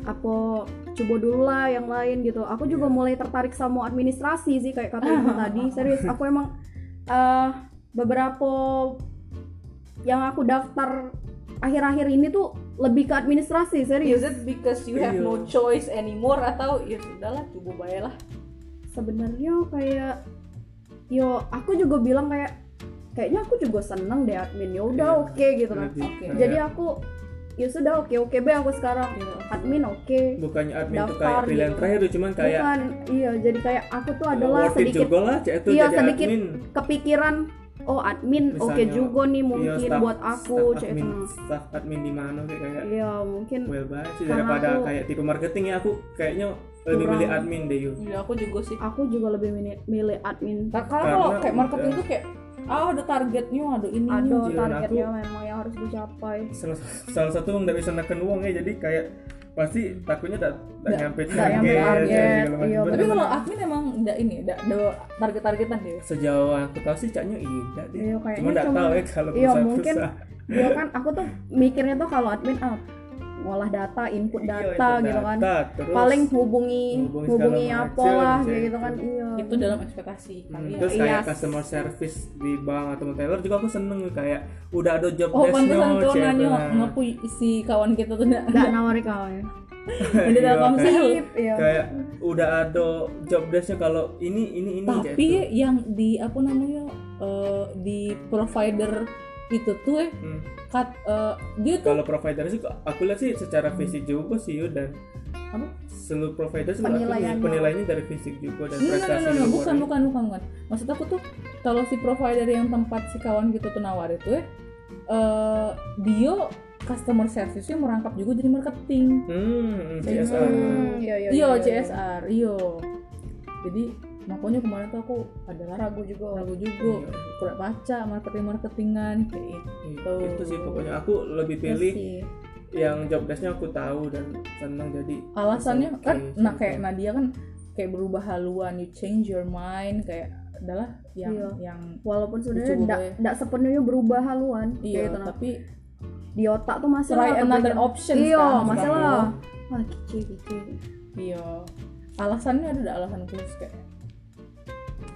C: apa coba dulu lah yang lain gitu aku
B: Iya.
C: juga mulai tertarik sama administrasi sih kayak kata ibu tadi serius aku emang eh beberapa yang aku daftar akhir-akhir ini tuh lebih ke administrasi serius
A: Is
B: Iya.
A: it because you have no choice anymore atau ya sudahlah coba bayalah.
C: sebenarnya kayak yo aku juga bilang kayak kayaknya aku juga seneng deh admin ya udah
B: Iya.
C: oke gitu kan
B: Berarti
A: Oke.
B: kayak
C: jadi aku ya sudah oke oke be aku sekarang
A: gitu.
C: admin oke
B: bukannya admin itu kayak
C: daftar
B: pilihan
C: gitu.
B: terakhir tuh, cuman kayak eh,
C: bukan iya jadi kayak aku tuh adalah
B: worth it
C: sedikit
B: juga lah cek itu
C: iya
B: jadi
C: sedikit
B: admin
C: kepikiran oh admin oke
B: Misalnya,
C: juga nih
B: Iya,
C: mungkin
B: staff-
C: buat aku
B: staff
C: cek
B: admin,
C: itu.
B: staff admin di mana kayak kayak
C: iya mungkin
B: well banget sih
C: Karena
B: daripada
C: aku-
B: kayak tipe marketing ya aku kayaknya lebih milih
C: Kurang.
B: admin deh yuk
A: Iya, aku juga sih.
C: aku juga lebih mini- milih admin
A: Nah, Karena kalau
B: Karena
A: kayak marketing
B: udah-
A: tuh kayak ah ada targetnya, ada ini.
C: ada
B: Jiran
C: targetnya
B: aku-
C: memang yang harus dicapai
B: salah, salah satu yang nggak bisa neken uang ya jadi kayak pasti takutnya tak tak nyampe
C: nggak nyampe target,
B: ya, segala macam.
C: iya,
B: Bener.
A: Tapi kalau admin emang enggak ini, enggak ada target-targetan deh.
B: sejauh yang aku tahu sih caknya tidak deh
C: Iya, kayaknya
B: cuma nggak
C: cuma-
B: tahu ya kalau
C: iya,
B: perusahaan-
C: mungkin
B: perusahaan.
C: iya kan aku tuh mikirnya tuh kalau admin ah ngolah data input
B: Iya,
C: data
B: itu
C: gitu kan
B: data, terus
C: paling hubungi
B: hubungi
C: hubungi
B: segala
C: apa
B: macem,
C: lah
B: cek
C: kayak gitu kan
B: itu.
C: iya
A: Itu dalam ekspektasi
B: Hmm,
A: kalian.
B: terus kayak
C: Iya.
B: customer service di bank atau teller juga aku seneng ya, kayak udah ada job
A: Oh,
B: desk-nya,
A: pantesan tuh
B: cek,
A: nanya
B: nah.
A: ngapu si kawan kita tuh enggak
C: nggak nawari kau ya
A: ada
B: Iya,
A: dalam komsel.
C: Sip, iya.
B: kayak udah ada job desknya kalau ini ini ini kayak gitu.
A: Tapi
B: itu.
A: yang di apa namanya eh, di provider itu tuh eh,
B: Hmm.
A: kat, eh, dia tuh
B: kalau provider sih aku lihat sih secara fisik juga sih Yu, dan
A: Apa?
B: seluruh provider sih aku
C: Penilaiannya.
B: penilaiannya dari fisik juga
A: Enggak,
B: dan
A: enggak,
B: prestasi
A: enggak, enggak. iya,
B: luar ya.
A: bukan,
B: itu.
A: bukan, bukan, bukan. Maksud aku tuh kalau si provider yang tempat si kawan gitu tuh nawar itu eh dia customer service-nya merangkap juga jadi marketing.
B: hmm CSR
C: Hmm, iya iya
A: Iya, CSR, iya. Jadi makanya kemarin tuh aku adalah ragu juga, ragu juga. Kurang baca marketing-marketingan kayak gitu.
B: Iya, itu sih pokoknya aku lebih pilih
A: Iya
C: Iya
A: sih.
B: yang job desknya aku tahu dan senang jadi
A: alasannya
B: oke,
A: kan nah
B: oke.
A: kayak Nadia kan kayak berubah haluan you change your mind kayak adalah yang
C: Iya.
A: yang
C: walaupun sebenarnya
A: Dicoba gue.
C: tidak sepenuhnya berubah haluan
A: iya
C: kayak gitu, nah.
A: tapi
C: di otak tuh masih
A: try
C: lah
A: another
C: kepikiran.
A: option
C: iya
A: kan,
C: masih
A: sekarang.
C: lah wah kece kece
A: iya alasannya ada nggak alasan khusus kayak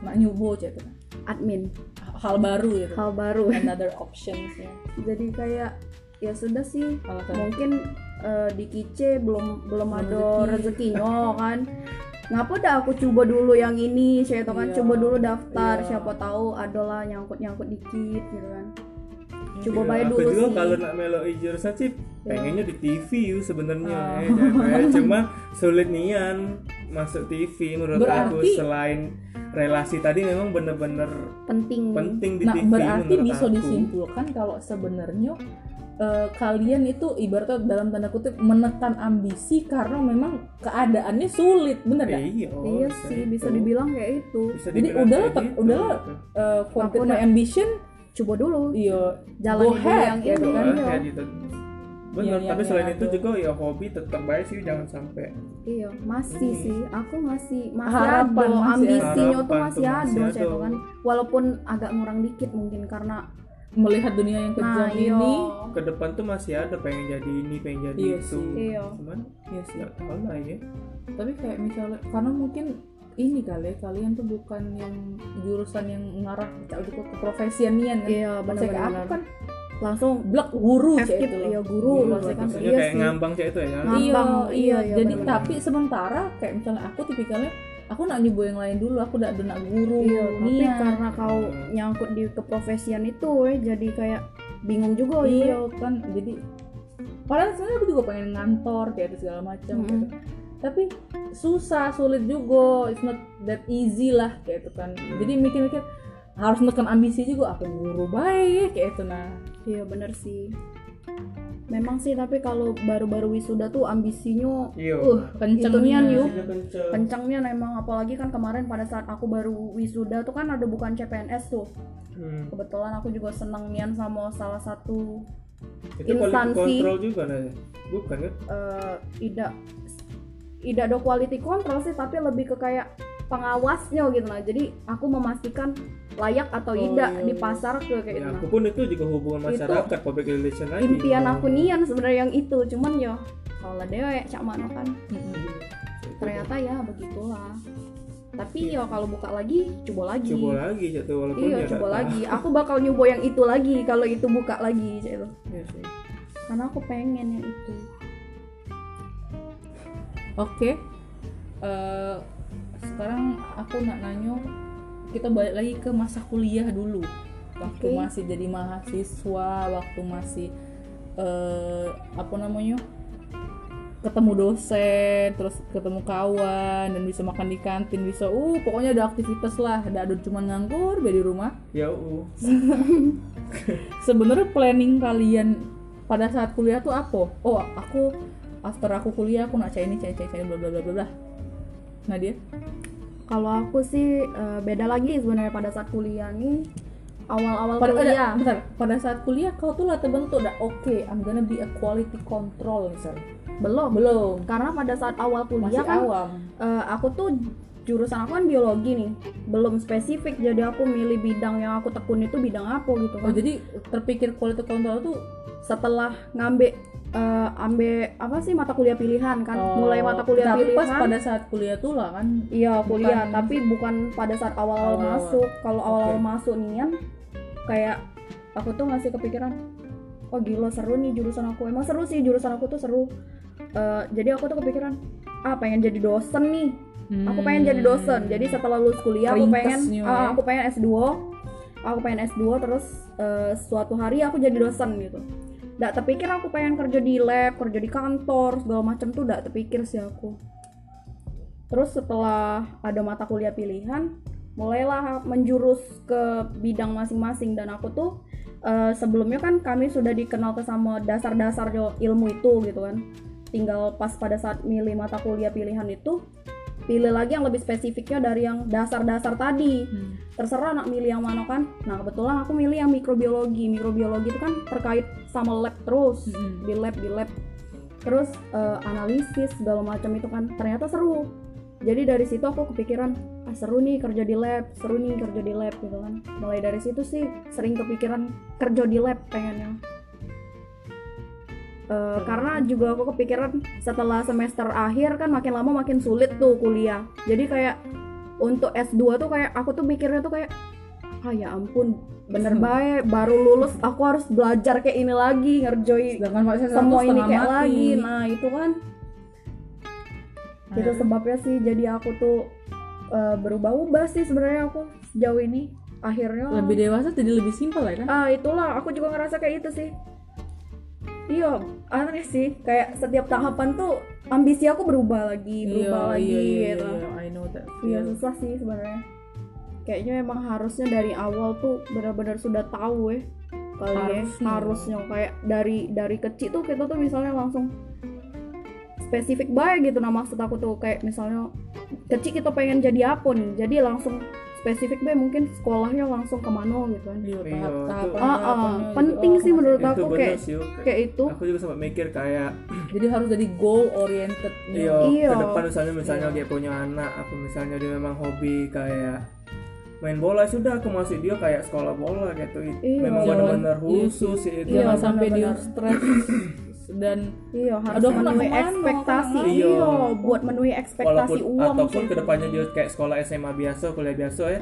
A: nak nyubo aja itu
C: admin
A: gitu. hal baru gitu
C: hal baru
A: another options ya
C: jadi kayak ya sudah sih
A: alasan
C: mungkin eh, di kice belum belum ada
A: Rezeki.
C: rezekinya kan ngapa dah aku coba dulu yang ini saya kan
A: Iya.
C: coba dulu daftar
A: Iya.
C: siapa tahu adalah nyangkut nyangkut dikit gitu kan coba
B: Iya,
C: bayar
B: aku
C: dulu
B: juga
C: sih
B: kalau nak meloi jurusan
A: Iya.
B: sih pengennya di TV yu sebenarnya
A: Oh.
B: eh, jangan- cuma sulit nian masuk TV menurut aku
A: Berarti-
B: selain relasi tadi memang bener-bener
C: penting
B: penting di
A: nah
B: TV
A: berarti
B: menurut
A: bisa
B: aku.
A: disimpulkan kalau sebenarnya eh, kalian itu ibaratnya dalam tanda kutip menekan ambisi karena memang keadaannya sulit bener ya
B: Eh, iya,
C: iya sih bisa dibilang kayak itu
A: Jadi udahlah, Pak,
B: gitu.
A: udahlah.
B: Oh,
A: uh,
C: Aku
A: fulfill my
C: udah-
A: ambition
C: coba dulu
A: iya
C: jalan
A: Go
C: dulu
A: ahead,
C: yang
A: ya
C: itu
A: gitu
B: kan
C: kan iya.
B: gitu. Bener,
A: Yang-
B: tapi
A: yang-
B: selain
A: yang
B: itu
A: aku-
B: juga ya hobi tetap baik sih jangan sampai
C: iya masih sih aku masih masih
A: Hmm. Harapan
C: ada
A: masih
C: ambisinya
B: ada.
C: tuh masih
B: Harapan tuh
C: ada
B: masih
C: saya
B: ada.
C: kan walaupun agak ngurang dikit mungkin karena
A: melihat dunia yang kejam
C: nah iya
A: ini
B: ke depan tuh masih ada pengen jadi ini, pengen jadi
A: Iya
B: itu.
A: sih.
C: Iya.
B: Cuman
A: Iya sih.
B: nggak tahu lah ya.
A: tapi kayak misalnya karena mungkin ini kali ya, kalian tuh bukan yang jurusan yang ngarah ke, ke ke profesianian kan
C: iya
A: Maksudnya kayak
C: benar-benar
A: aku kan
C: langsung
A: blek guru
C: F
A: cek
C: gitu
A: itu loh.
C: ya guru
B: Iya,
C: pasti kan
B: maksudnya
C: iya
B: kayak
C: sih
B: ngambang cek itu ya.
C: Ngambang.
A: iya
C: iya,
A: iya
C: iya,
A: jadi
B: benar-benar.
A: tapi sementara kayak misalnya aku tipikalnya aku nak nyoba yang lain dulu aku udah nak guru
C: iya tapi
A: niat.
C: karena kau nyangkut di keprofesian itu eh, jadi kayak bingung juga
A: iya
C: ya
A: kan jadi padahal sebenarnya aku juga pengen ngantor kayak itu segala macam
C: Mm-mm.
A: gitu. tapi susah sulit juga it's not that easy lah kayak itu kan
C: Mm.
A: jadi mikir-mikir harus menekan ambisi juga aku guru baik kayak itu nah
C: iya bener sih memang sih tapi kalau baru-baru wisuda tuh ambisinya
B: Iya.
C: uh
A: kencengnya
C: Itu nian,
A: yuk
C: yuk.
B: kan,
C: kencangnya emang apalagi kan kemarin pada saat aku baru wisuda tuh kan ada bukan CPNS tuh
B: Hmm.
C: kebetulan aku juga seneng nian sama salah satu
B: itu quality
C: Instansi.
B: control juga nanya bukan kan
C: eh, tidak tidak ada quality control sih tapi lebih ke kayak pengawasnya gitu nah jadi aku memastikan layak atau
A: Oh,
C: tidak
A: iya,
C: di
A: iya.
C: pasar ke kayak
B: ya, aku
C: gitu
B: gitu.
C: nah.
B: pun itu juga hubungan
C: Itu
B: masyarakat public relation lagi
C: impian aku nian sebenarnya yang itu cuman yo kalau lah dewe cak mana kan
B: gitu.
C: ternyata ya begitulah tapi yo kalau buka lagi coba lagi
B: coba lagi jatuh walaupun
C: iya
B: ya
C: coba
B: nggak
C: lagi aku bakal nyoba yang itu lagi kalau itu buka lagi cak itu
B: tahu. Iya sih.
C: karena aku pengen yang itu
A: Oke. Eh, sekarang aku nak nanya kita balik lagi ke masa kuliah dulu. Waktu
C: Oke.
A: masih jadi mahasiswa, waktu masih eh, apa namanya? ketemu dosen, terus ketemu kawan dan bisa makan di kantin, bisa uh pokoknya ada aktivitas lah, ada ada cuma nganggur be di rumah.
B: ya uh
A: Sebenarnya planning kalian pada saat kuliah tuh apa? Oh, aku after aku kuliah aku nak cari ini, cari cari cari bla bla bla bla bla. Nah dia?
C: kalau aku sih eh, beda lagi sebenarnya pada saat kuliah nih awal-awal
A: pada, eh, ada-
C: Oh, kuliah
A: bentar. pada saat kuliah kau tuh lah terbentuk udah oke I'm gonna be a quality control misalnya
C: Oh, belum
A: belum
C: karena pada saat awal
A: masih
C: kuliah kan
A: awam
C: eh, aku tuh jurusan aku kan biologi nih belum spesifik jadi aku milih bidang yang aku tekuni itu bidang apa gitu
A: oh
C: kan
A: jadi terpikir quality control tuh
C: setelah ngambil eh, ambil apa sih mata kuliah pilihan kan
A: oh,
C: mulai mata kuliah kan?
A: tapi pas
C: pilihan
A: pada saat kuliah tuh lah kan
C: iya kuliah
A: bukan-
C: tapi bukan pada saat awal-awal
A: Awal-awal.
C: masuk kalau awal-awal
A: Oke.
C: masuk nian kayak aku tuh masih kepikiran oh gila seru nih jurusan aku emang seru sih jurusan aku tuh seru Eh, jadi aku tuh kepikiran ah pengen jadi dosen nih aku pengen
A: Hmm.
C: jadi dosen jadi setelah lulus kuliah aku pengen
A: Ringkasnya,
C: ah,
A: ya.
C: aku pengen S2 aku pengen S2 terus eh, suatu hari aku jadi dosen gitu Nggak terpikir aku pengen kerja di lab kerja di kantor segala macam tuh nggak terpikir sih aku terus setelah ada mata kuliah pilihan mulailah menjurus ke bidang masing-masing dan aku tuh eh, sebelumnya kan kami sudah dikenal ke sama dasar-dasar jo- ilmu itu gitu kan tinggal pas pada saat milih mata kuliah pilihan itu pilih lagi yang lebih spesifiknya dari yang dasar-dasar tadi
A: Hmm.
C: terserah nak milih yang mana kan nah kebetulan aku milih yang mikrobiologi mikrobiologi itu kan terkait sama lab terus
A: Mm-mm.
C: di lab di lab terus eh, analisis segala macam itu kan ternyata seru jadi dari situ aku kepikiran ah seru nih kerja di lab seru nih kerja di lab gitu kan mulai dari situ sih sering kepikiran kerja di lab pengennya Eh, karena juga aku kepikiran setelah semester akhir kan makin lama makin sulit tuh kuliah jadi kayak untuk S2 tuh kayak aku tuh mikirnya tuh kayak ah ya ampun bener baik baru lulus aku harus belajar kayak ini lagi ngerjain
A: sedangkan pak saya
C: semua ini kayak lagi nah itu kan
A: Hmm.
C: itu sebabnya sih jadi aku tuh eh, berubah-ubah sih sebenarnya aku sejauh ini akhirnya
A: lebih dewasa jadi lebih simpel ya kan
C: ah itulah aku juga ngerasa kayak itu sih iya aneh sih kayak setiap tahapan tuh ambisi aku berubah lagi berubah
A: Iya,
C: lagi
A: iya, iya,
C: gitu
A: iya, I know that
C: iya
A: feel.
C: susah sih sebenarnya kayaknya memang harusnya dari awal tuh benar-benar sudah tahu ya kali ya
A: Harusnya.
C: harusnya kayak dari dari kecil tuh kita tuh misalnya langsung spesifik banget gitu nah maksud aku tuh kayak misalnya kecil kita pengen jadi apa nih jadi langsung spesifik banget mungkin sekolahnya langsung kemana gitu kan
A: Iya,
B: Iya,
A: tahap-
B: itu-
A: tahapan-
C: Ah, ah,
A: tahapannya
C: penting
A: gitu.
C: sih
A: Oh,
C: menurut
B: uh, itu
C: aku
B: bener
C: kayak gitu.
B: sih Uke.
C: kayak itu
B: aku juga sempat mikir kayak
A: jadi harus jadi goal oriented
B: Iya,
C: Iya.
B: ke depan misalnya misalnya dia punya anak apa misalnya dia memang hobi kayak main bola ya sudah aku masih dia kayak sekolah bola gitu.
C: Iya.
B: Memang
A: Jangan-
B: benar-benar
A: iya
B: khusus sih itu.
A: jangan
C: Iya,
A: sampai di
C: benar-benar.
A: stress dan
C: iya harus
A: Aduh, aku nak
C: memenuhi
A: kemana, aku nak
C: ekspektasi
A: kemana.
C: iya
B: Iya.
C: buat memenuhi ekspektasi
B: walaupun
C: uang
B: ataupun
C: sih.
B: kedepannya dia kayak sekolah SMA biasa kuliah biasa ya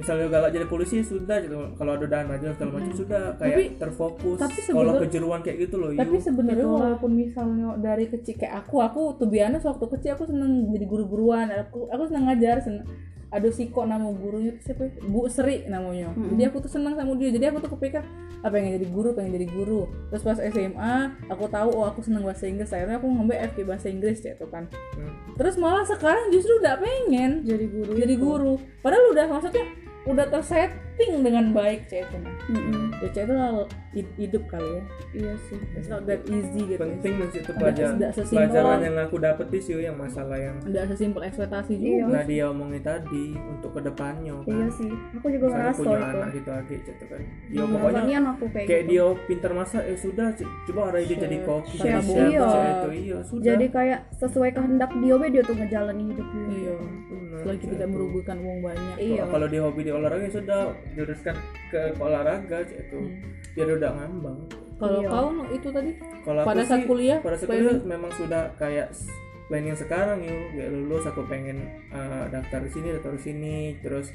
B: misalnya galak jadi polisi sudah gitu. kalau ada dana aja segala macam sudah kayak
A: Tapi-
B: terfokus
A: tapi
B: sekolah
A: sebenar-
B: kejuruan kayak gitu loh
A: tapi
B: you.
A: sebenarnya
C: Gitu lah.
A: walaupun misalnya dari kecil kayak aku aku tuh biasanya waktu kecil aku seneng jadi guru-guruan aku aku seneng ngajar seneng ada si kok nama gurunya tuh siapa ya? Bu Sri namanya jadi aku tuh seneng sama dia jadi aku tuh kepikir apa pengen jadi guru pengen jadi guru terus pas SMA aku tahu oh aku seneng bahasa Inggris akhirnya aku ngambil FK bahasa Inggris ya tuh kan
B: Hmm.
A: terus malah sekarang justru udah pengen
C: jadi guru
A: jadi guru padahal udah maksudnya udah tersetting dengan baik cek itu
C: Mm-mm.
A: Baca itu hal hid- hidup kali ya.
E: Iya sih.
A: It's not that easy gitu.
B: penting dan situ
A: Nggak-
B: pelajaran
A: nggak sesimpel.
B: pelajaran yang aku dapet sih Siu, yang masalah yang
A: Nggak sesimpel ekspektasi
C: Iya.
A: juga.
B: Nadia omongin tadi untuk kedepannya
C: iya
B: kan
C: sih aku juga
B: misalnya
C: ngerasa
B: punya
C: itu Iya,
B: anak gitu lagi gitu kan dia
A: Hmm.
B: pokoknya
C: Ini aku kayak,
B: kayak
C: gitu.
B: dia pintar masak ya sudah c- coba arah dia
A: Chef,
B: jadi koki
A: chef,
B: jadi
C: iya.
B: chef itu iya sudah
C: jadi kayak sesuai kehendak dia we dia tuh ngejalanin hidup dia
A: Iya.
B: Benar,
A: Selagi
B: gitu.
A: tidak merugikan uang banyak.
C: iya
B: Kalau- kalau dia hobi di olahraga ya sudah juruskan ke olahraga c- itu
A: Hmm.
B: biar udah ngambang
A: Kalau
C: Iya.
A: kau itu tadi
B: kalau aku
A: pada saat
B: sih,
A: kuliah
B: pada saat kuliah
A: planning
B: memang sudah kayak s- planning sekarang yuk kayak lulus aku pengen eh, daftar di sini daftar di sini terus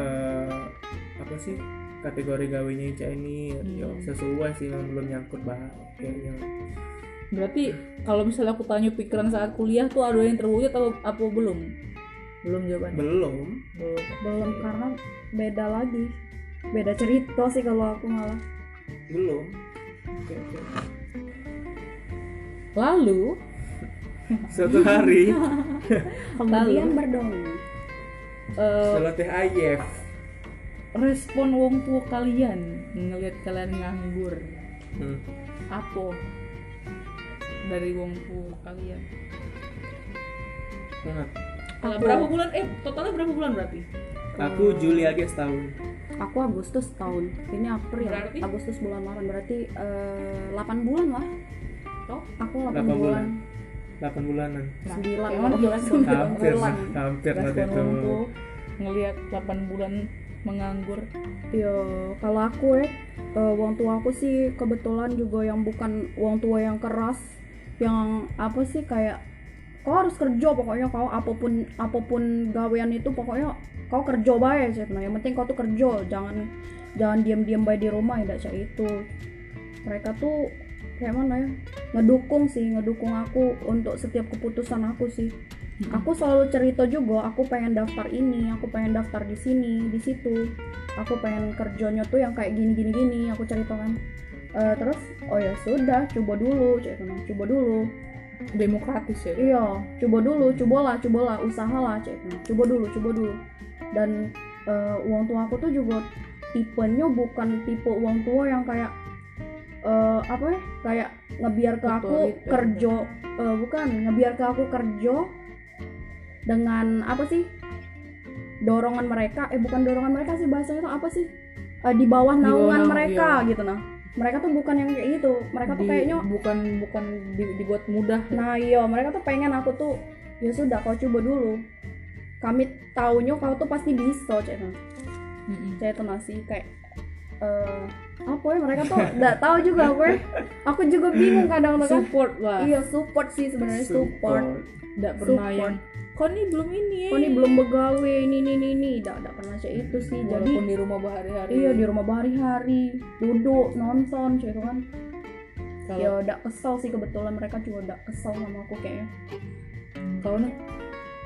B: eh, apa sih kategori gawenya Ica ini ya
A: Hmm.
B: sesuai sih memang belum nyangkut banget kayaknya
A: berarti kalau misalnya aku tanya pikiran saat kuliah tuh ada yang terwujud atau apa belum? Belum jawabannya.
B: belum
A: Belum.
C: belum karena beda lagi beda cerita sih kalau aku malah
B: belum Oke, oke.
A: Lalu
B: suatu hari
C: kemudian berdongeng
A: eh,
B: setelah teh ayef
A: respon wong tua kalian ngelihat kalian nganggur
B: hmm.
A: apa dari wong tua kalian?
B: Nah,
A: Kalau berapa bulan? Eh totalnya berapa bulan berarti? eh,
B: aku Juli aja setahun
C: aku Agustus tahun ini April
A: Berarti?
C: Agustus bulan Maret berarti eh, 8 bulan lah
A: Toh?
C: aku
B: 8
C: 8, bulan,
B: bulan 8 bulanan
A: Nah,
C: 9
A: kayak mana
C: bulan
A: respon-
B: hampir nah, hampir nanti
A: respon
B: itu
A: wong tua ngelihat 8 bulan menganggur
C: Iya, kalau aku ya, eh, uang tua aku sih kebetulan juga yang bukan uang tua yang keras, yang apa sih kayak kau harus kerja pokoknya kau apapun apapun gawean itu pokoknya kau kerja bae sih nah, yang penting kau tuh kerja jangan jangan diam diam bae di rumah ya cak itu mereka tuh kayak mana ya ngedukung sih ngedukung aku untuk setiap keputusan aku sih
A: Hmm.
C: aku selalu cerita juga aku pengen daftar ini aku pengen daftar di sini di situ aku pengen kerjanya tuh yang kayak gini gini gini aku ceritakan Eh, terus oh ya sudah coba dulu cek coba dulu
A: demokratis ya.
C: Iya, coba dulu, cobalah, cobalah, usahalah, cek. Nah, Coba dulu, coba dulu. Dan eh, uang tua aku tuh juga tipenya bukan tipe uang tua yang kayak eh, apa ya? Kayak ngebiar ke aku
A: Otoriter.
C: kerja, eh, bukan ngebiar ke aku kerja dengan apa sih? Dorongan mereka, eh bukan dorongan mereka sih bahasanya tuh apa sih? Eh, di bawah
A: Di bawah
C: naungan
A: naung-
C: mereka gitu nah. Mereka tuh bukan yang kayak gitu. Mereka tuh
A: Di-
C: kayaknya
A: bukan bukan di- dibuat mudah
C: Nah iya mereka tuh pengen aku tuh ya sudah kau coba dulu. Kami taunya kau tuh pasti bisa cina. Saya tuh masih kayak eh apa ya mereka tuh nggak tahu juga aku ya. Aku juga bingung kadang tuh kan.
A: support lah
C: Iya support
A: Nah,
C: sih sebenarnya support.
A: tidak pernah
C: Support.
A: yang kok nih belum ini
C: Kau nih belum begawe ini ini ini ini. Nggak nggak pernah kayak itu sih. Jadi
A: walaupun di rumah berhari-hari
C: iya di rumah hari-hari duduk nonton cina kan.
A: kalau
C: Ya nggak kesel sih kebetulan mereka juga nggak kesel sama aku kayaknya.
A: kalau nih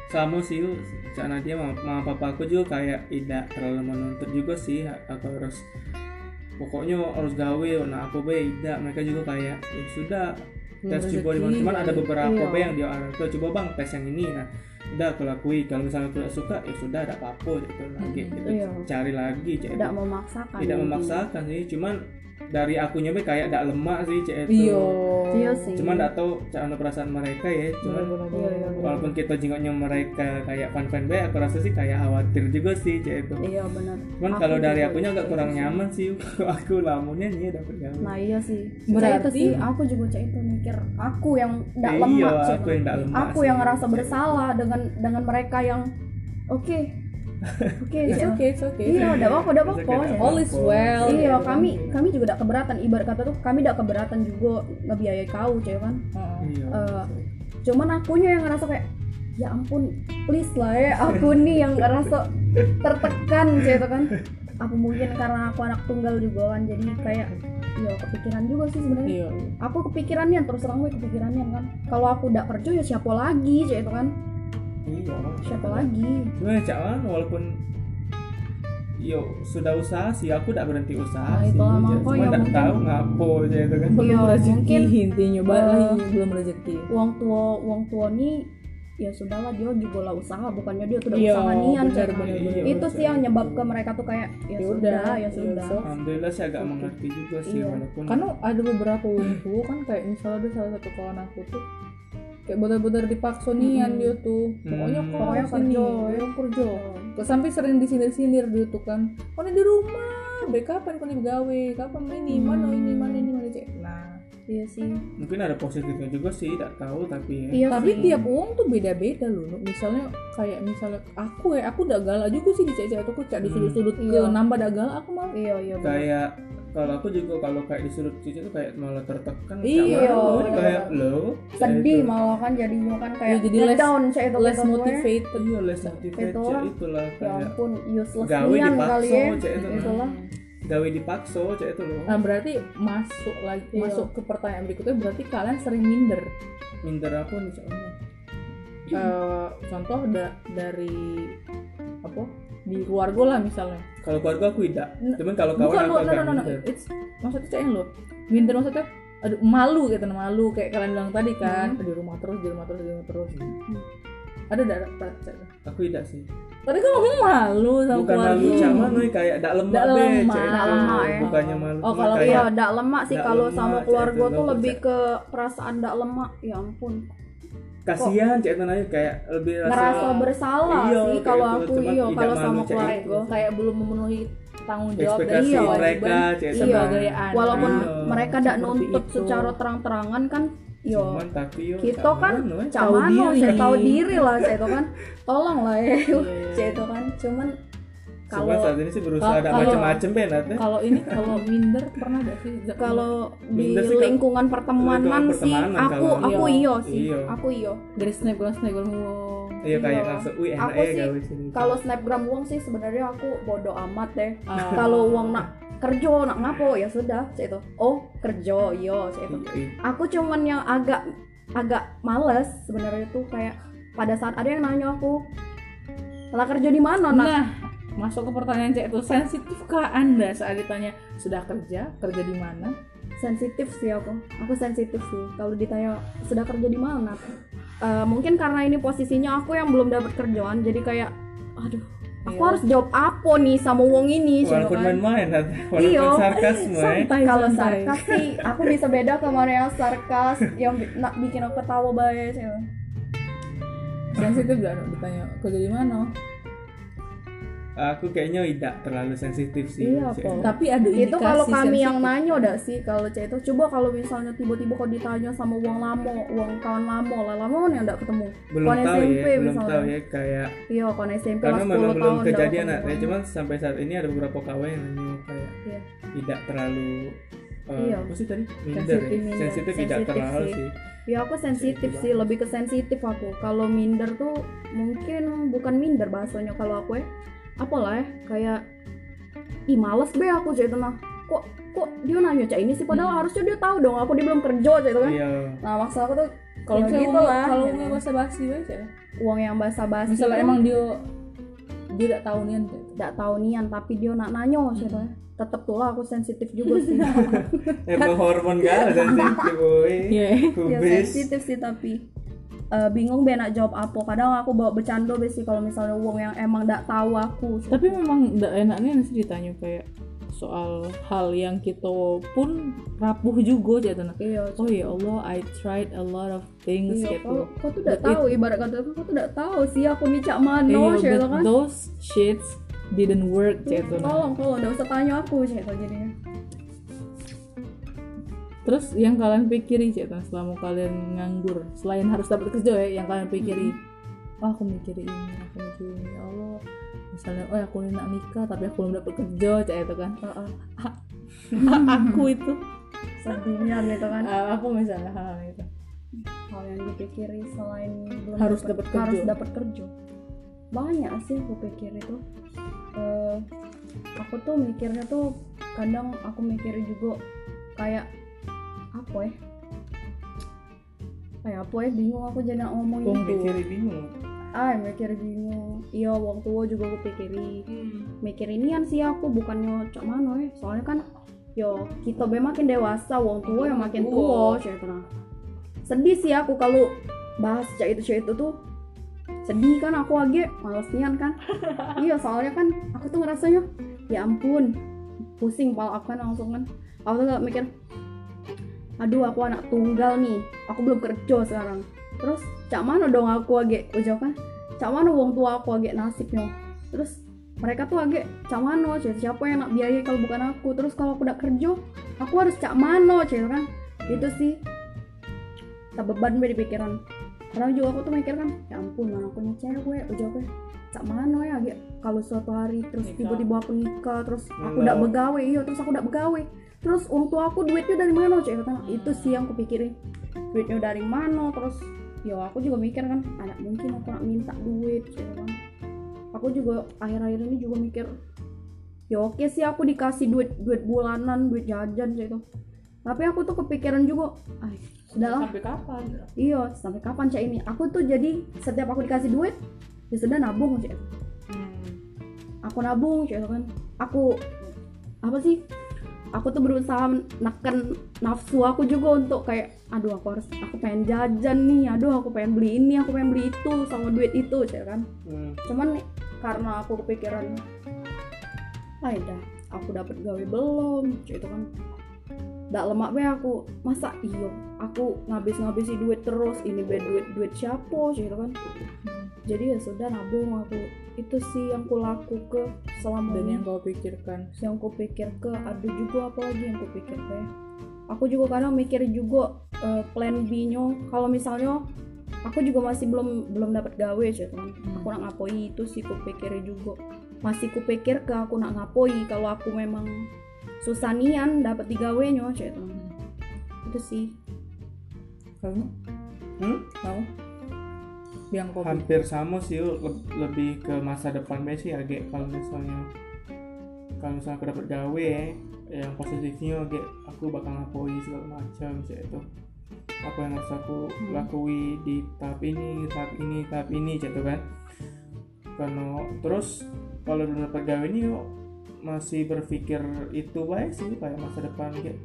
B: sama sih karena dia mama, mama papa aku juga kayak tidak terlalu menuntut juga sih aku harus pokoknya harus gawe nah aku be tidak mereka juga kayak ya sudah tes
A: belum
B: coba di mana
A: rezeki,
B: cuman ada
A: kali.
B: beberapa
C: Iya.
B: be yang dia arah ke coba bang tes yang ini nah udah aku lakui kalau misalnya aku tidak suka ya sudah ada apa-apa gitu lagi
A: Mm,
B: gitu
C: iya.
B: cari lagi cek
C: Tidak memaksakan.
B: tidak
C: jadi.
B: memaksakan sih cuman dari akunya be kayak tidak lemah sih cek itu
A: Iya.
C: Iya sih.
B: cuman tidak tahu cara perasaan mereka ya cuman
A: Benar-benar.
C: Iya, iya, iya.
B: walaupun kita jengoknya mereka kayak fan fan aku rasa sih kayak khawatir juga sih cek itu
C: Iya benar.
B: cuman
C: Aku
B: kalau dari
C: juga
B: akunya agak
C: gitu
B: kurang
C: sih.
B: nyaman sih aku lamunya nih ya? dapat gawe
C: Nah iya sih. Berarti
A: Berarti-
C: sih aku juga cak itu mikir aku yang tidak
B: Eh,
C: lemah.
B: iya,
C: Cak.
B: aku yang nggak lemah
C: Aku
B: sih.
C: yang ngerasa bersalah dengan dengan mereka yang oke. Oke,
A: it's
C: Cak.
A: okay it's okay
C: Iya, udah apa-apa, udah
B: It's okay,
C: apa-apa.
B: nggak
C: Cak.
A: all is well
C: Iya,
A: gitu kan.
C: kami kami juga tidak keberatan. Ibarat kata tuh kami tidak keberatan juga ngebiayai kau, cewek kan.
A: Heeh.
B: Iya.
C: Eh, cuman akunya yang ngerasa kayak ya ampun please lah ya aku nih yang ngerasa tertekan gitu kan apa mungkin karena aku anak tunggal juga kan jadi kayak ya kepikiran juga sih sebenarnya
A: iya
C: aku kepikirannya terus terang gue kepikirannya kan kalau aku udah kerja ya siapa lagi kayak itu kan
B: iya
C: siapa lagi
B: Cuma ya, Cak Wan, walaupun yo sudah usaha sih aku tidak berhenti usaha
C: Nah,
B: sih
C: itu lah,
B: Cak.
C: makanya
B: cuma tidak
C: mungkin-
B: tahu ngapo aja itu kan
A: belum
C: Iya,
A: rezeki
C: mungkin,
A: intinya balik
C: eh,
A: lagi belum rezeki
C: uang tua uang tua nih ya sudahlah dia lagi bola usaha bukannya dia tuh udah
A: Iya,
C: usaha nian
A: benar,
C: Cak.
A: benar,
B: benar,
C: itu
B: benar.
C: sih yang nyebabkan mereka tuh kayak
A: Ya
C: ya, sudah
A: udah,
C: ya
A: ya
C: sudah
A: sudah.
B: alhamdulillah saya agak mengerti juga sih
C: Iya.
B: walaupun
A: karena ada beberapa info kan kayak misalnya ada salah satu kawan aku tuh kayak bener-bener dipaksa nian
C: Mm-mm.
A: dia tuh pokoknya
B: Hmm.
A: kok
C: Pokoknya
A: sini
C: kerja,
A: pokoknya ya, kerja Terus sampai sering disindir-sindir dia tuh kan oh ini di rumah be kapan kau nih gawe kapan ini mana ini mana ini mana cek nah
C: iya sih
B: mungkin ada positifnya juga sih tidak tahu tapi ya
C: iya
A: tapi
C: sih.
A: tiap uang tuh beda-beda loh Nuk. misalnya kayak misalnya aku ya aku udah galak juga sih dicek-cek aku cak di
B: Hmm.
A: sudut-sudut
C: Iya.
A: ke nambah dah galak aku mau
C: iya iya benar.
B: kayak kalau aku juga kalau kayak disuruh cuci tuh kayak malah tertekan
A: Iya,
B: kayak malu,
C: bener.
B: kayak lo
C: sedih malah kan jadinya kan kayak
A: Iya, jadi less-
C: down cek itu
A: less
C: kata gue.
A: motivated
B: iya les motivate
C: Itu
B: cek
C: lah.
B: itulah
A: Iya.
C: ya
B: kayak
C: ampun useless
B: gawe
C: nian
B: dipaksa,
C: kali ya
B: Cek, itu.
C: itulah
B: gawe dipaksa cek itu lo
A: nah berarti masuk lagi
C: Iya.
A: masuk ke pertanyaan berikutnya berarti kalian sering minder
B: minder aku nih cek Allah. Iya.
A: Eh, contoh da- dari apa di keluarga lah misalnya
B: kalau keluarga aku tidak
A: N-
B: cuman kalau kawan
A: bukan
B: aku
A: no no
B: agak
A: no, no, no.
B: minder
A: It's, maksudnya ceng lo minder maksudnya aduh malu gitu malu kayak kalian bilang tadi kan di rumah terus di rumah terus di rumah terus ada ada
B: aku tidak sih
A: tadi kan ngomong malu sama
B: bukan
A: keluarga
B: malu cama nih kayak tidak lemah
A: Dak
B: be
A: lemak.
B: cek
C: Dak
B: itu.
C: lemak, ya.
B: bukannya malu
A: Oh,
B: cuma
A: kalau
B: kayak
C: Iya, dak lemak sih
B: dak
C: kalau
B: lemak,
C: sama
B: cek
C: keluarga
B: itu,
C: tuh
B: cek.
C: lebih ke perasaan dak lemak. Ya ampun.
B: kasihan cek itu nanya kayak lebih
C: Ngerasa bersalah
B: Iya,
C: sih
B: kayak
C: kalau
B: gitu.
C: aku
B: Cuman
C: iya
B: tidak
C: kalau
B: malu,
C: sama
B: cek.
C: keluarga.
A: kayak belum memenuhi tanggung jawab dan
B: ekspektasi
C: Iya,
A: kewajiban
B: mereka cek itu.
A: sebagai
B: Nah,
A: anak
C: Walaupun
B: Iya,
C: mereka dak
A: seperti
C: nuntut
A: itu.
C: secara terang-terangan kan
A: Iya,
C: yo
B: cuman tapi yo
C: Kita
B: cak eh.
C: kan
B: mana, cek.
A: tahu
C: camano
A: diri.
C: saya tahu diri lah saya itu kan tolong lah ya
A: Iya.
C: saya itu kan cuman
B: Cuman
C: kalau
B: saat ini sih berusaha ada
A: kalau-
B: macam-macam be nanti
A: Eh? kalau ini kalau minder pernah gak sih Zak?
C: kalau di
B: Minder sih, Kak.
C: lingkungan pertemanan
B: Lingkungan
C: sih
B: pertemanan,
C: aku
B: kawan.
C: aku
A: Iya.
C: iyo sih
B: Iya.
C: aku iyo
A: dari snapgram snapgram wow
B: iya kayak
C: Iya.
B: langsung wih enak
C: Aku
B: ya
C: sih,
B: gawe sini
C: kalau snapgram uang sih sebenarnya aku bodoh amat deh
A: Ah.
C: kalau uang nak kerja nak ngapo ya sudah saya itu oh kerja iyo saya itu
B: Iya, iya.
C: aku cuman yang agak agak males sebenarnya tuh kayak pada saat ada yang nanya aku telah kerja di mana nak
A: Nah, masuk ke pertanyaan cek itu sensitifkah Anda saat ditanya sudah kerja, kerja di mana?
C: sensitif sih aku aku sensitif sih kalau ditanya sudah kerja di mana Eh, mungkin karena ini posisinya aku yang belum dapat kerjaan jadi kayak aduh aku
A: Iya.
C: harus jawab apa nih sama wong ini sih
B: walaupun
C: kan
B: main-main nanti walaupun
C: Iya.
B: sarkas main
C: kalau sarkas sih aku bisa beda ke mana yang sarkas yang bi- nak bikin aku ketawa baik gitu. sih
A: Sensitif gak Nuk, ditanya kerja di mana?
B: aku kayaknya tidak terlalu sensitif sih
C: Iya,
B: Cek.
C: Pol.
A: Tapi ada indikasi
C: itu kalau kami yang
A: sensitif.
C: nanya udah sih kalau cek itu coba kalau misalnya tiba-tiba kau ditanya sama uang lamo uang kawan lamo lah lamo mana yang nggak ketemu
B: belum
C: Kawan
B: tahu ya
C: SMP
B: belum
C: misalnya.
B: tahu ya kayak
C: iya kawan SMP
B: karena
C: lah
B: memang
C: 10 tahun
B: belum
C: nggak
B: kejadian
C: ketemu. kan.
B: nah, cuman sampai saat ini ada beberapa kawan yang nanya kayak
C: Iya.
B: tidak terlalu eh,
C: Iya.
B: apa sih tadi minder ya?
C: Sensitif, minder.
B: sensitif tidak
C: Sensitif
B: terlalu
C: sih.
B: sih
C: Ya aku sensitif sih, lebih ke sensitif aku. Kalau minder tuh mungkin bukan minder bahasanya kalau aku ya. Apalah ya, kayak ih males be aku sih itu mah. Kok kok dia nanya cak ini sih padahal harusnya dia tahu dong aku dia belum kerja cak itu kan.
B: iya
C: Nah, maksud aku tuh
A: kalau
C: ya
A: misalnya
C: gitu
A: uang-
C: lah,
A: Kalau
C: gitu.
A: nggak bahasa basi aja.
C: uang yang basa-basi.
A: Misalnya
C: tuh
A: emang dia dia tidak tahu nian Cek.
C: nggak tahu nian tapi dia nak nanya sih itu.
A: Hmm.
C: ya. Tetep tuh lah aku sensitif juga sih.
B: emang hormon gak sensitif boy
A: Iya.
C: ya
B: kubis
C: sensitif sih tapi eh, bingung be nak jawab apa. Kadang aku bawa bercanda be sih kalau misalnya uang yang emang nggak tahu aku. sih.
A: Tapi memang tidak enaknya sih ditanya kayak soal hal yang kita pun rapuh juga Cek, itu, Nuk.
C: Iya,
A: Oh ya Allah, I tried a lot of things
C: Iya,
A: gitu.
C: kau, kau tuh
A: But
C: udah
A: it-
C: tahu ibarat kata kau tuh udah tahu sih aku micak
A: Iya,
C: mano sih
A: but
C: kan.
A: those shits didn't work gitu.
C: Tolong tolong enggak usah tanya aku sih itu jadinya.
A: Terus yang kalian pikiri sih Tan, selama kalian nganggur selain harus dapat kerja ya yang kalian pikiri oh aku mikir ini aku mikir ini ya Allah misalnya oh aku ini nak nikah tapi aku belum dapat kerja cak itu kan
C: Heeh.
A: aku itu
C: Sedihnya gitu kan.
A: Hmm. eh, aku misalnya hal itu
C: Hal yang dipikiri selain belum
A: Harus dapat kerja.
C: harus dapat kerja. Banyak sih aku pikir itu. Eh, aku tuh mikirnya tuh kadang aku mikir juga kayak apa ya? Kayak apa ya bingung aku jadi nak ngomong
B: Kok
C: gitu.
B: mikirin bingung
C: Ah, mikir bingung. Iya, wong tua juga aku pikiri. Mikir inian sih aku bukannya cok mano ya. Soalnya kan yo kita be makin dewasa, wong tua yang makin tua, gitu
A: Tua.
C: cek itu nah. Sedih sih aku kalau bahas cek itu cek itu tuh sedih kan aku age malesnian kan iya soalnya kan aku tuh ngerasanya ya ampun pusing kepala aku kan langsung kan aku tuh kayak mikir aduh aku anak tunggal nih aku belum kerja sekarang terus cak mana dong aku age ujau kan cak mana wong tua aku age nasibnya terus mereka tuh agak cak mano cuy siapa yang nak biaya kalau bukan aku terus kalau aku udah kerja aku harus cak mano cuy kan itu sih tak beban be di pikiran karena juga aku tuh mikir kan ya ampun mana aku nih cewek ujung aku cak mano ya agak kalau suatu hari terus
A: Nikah.
C: tiba-tiba aku nikah terus
B: Enggak.
C: aku udah begawe iya terus aku udah begawe terus uang tua aku duitnya dari mana cuy kan itu sih yang aku pikirin duitnya dari mana terus ya aku juga mikir kan anak mungkin aku nak minta duit cuy kan aku juga akhir-akhir ini juga mikir ya oke sih aku dikasih duit duit bulanan duit jajan gitu tapi aku tuh kepikiran juga ah sudahlah
A: sampai kapan
C: iya sampai kapan cak ini aku tuh jadi setiap aku dikasih duit ya sudah nabung cak
A: Hmm.
C: aku nabung cak kan aku apa sih aku tuh berusaha menekan nafsu aku juga untuk kayak aduh aku harus aku pengen jajan nih aduh aku pengen beli ini aku pengen beli itu sama duit itu cak kan
B: Hmm.
C: cuman karena aku kepikiran ah ya dah, aku dapat gawe belum Cuk, itu kan Nggak lemak be aku masa iyo aku ngabis-ngabisi duit terus ini be duit duit siapa Cuk, itu kan jadi ya sudah nabung aku itu sih yang ku laku ke selama
A: dan
C: ini
A: yang kau pikirkan
C: yang ku pikir ke ada juga apa lagi yang ku pikir ke ya? aku juga kadang mikir juga eh, plan B nya kalau misalnya aku juga masih belum belum dapat gawe gitu kan. sih teman aku nak ngapoi itu sih ku pikir juga masih ku pikir ke aku nak ngapoi kalau aku memang susah nian dapat digawe nya sih teman itu sih
A: kamu
B: Hmm?
A: kamu yang kau pikir
B: hampir sama sih Ul. Leb- lebih ke masa depan gue sih agak kalau misalnya kalau misalnya aku dapat gawe ya yang positifnya agak aku bakal ngapoi segala macam sih itu apa yang harus aku lakui di tahap ini tahap ini tahap ini gitu kan karena terus kalau belum dapat gawe ini yuk masih berpikir itu baik sih kayak masa depan kayak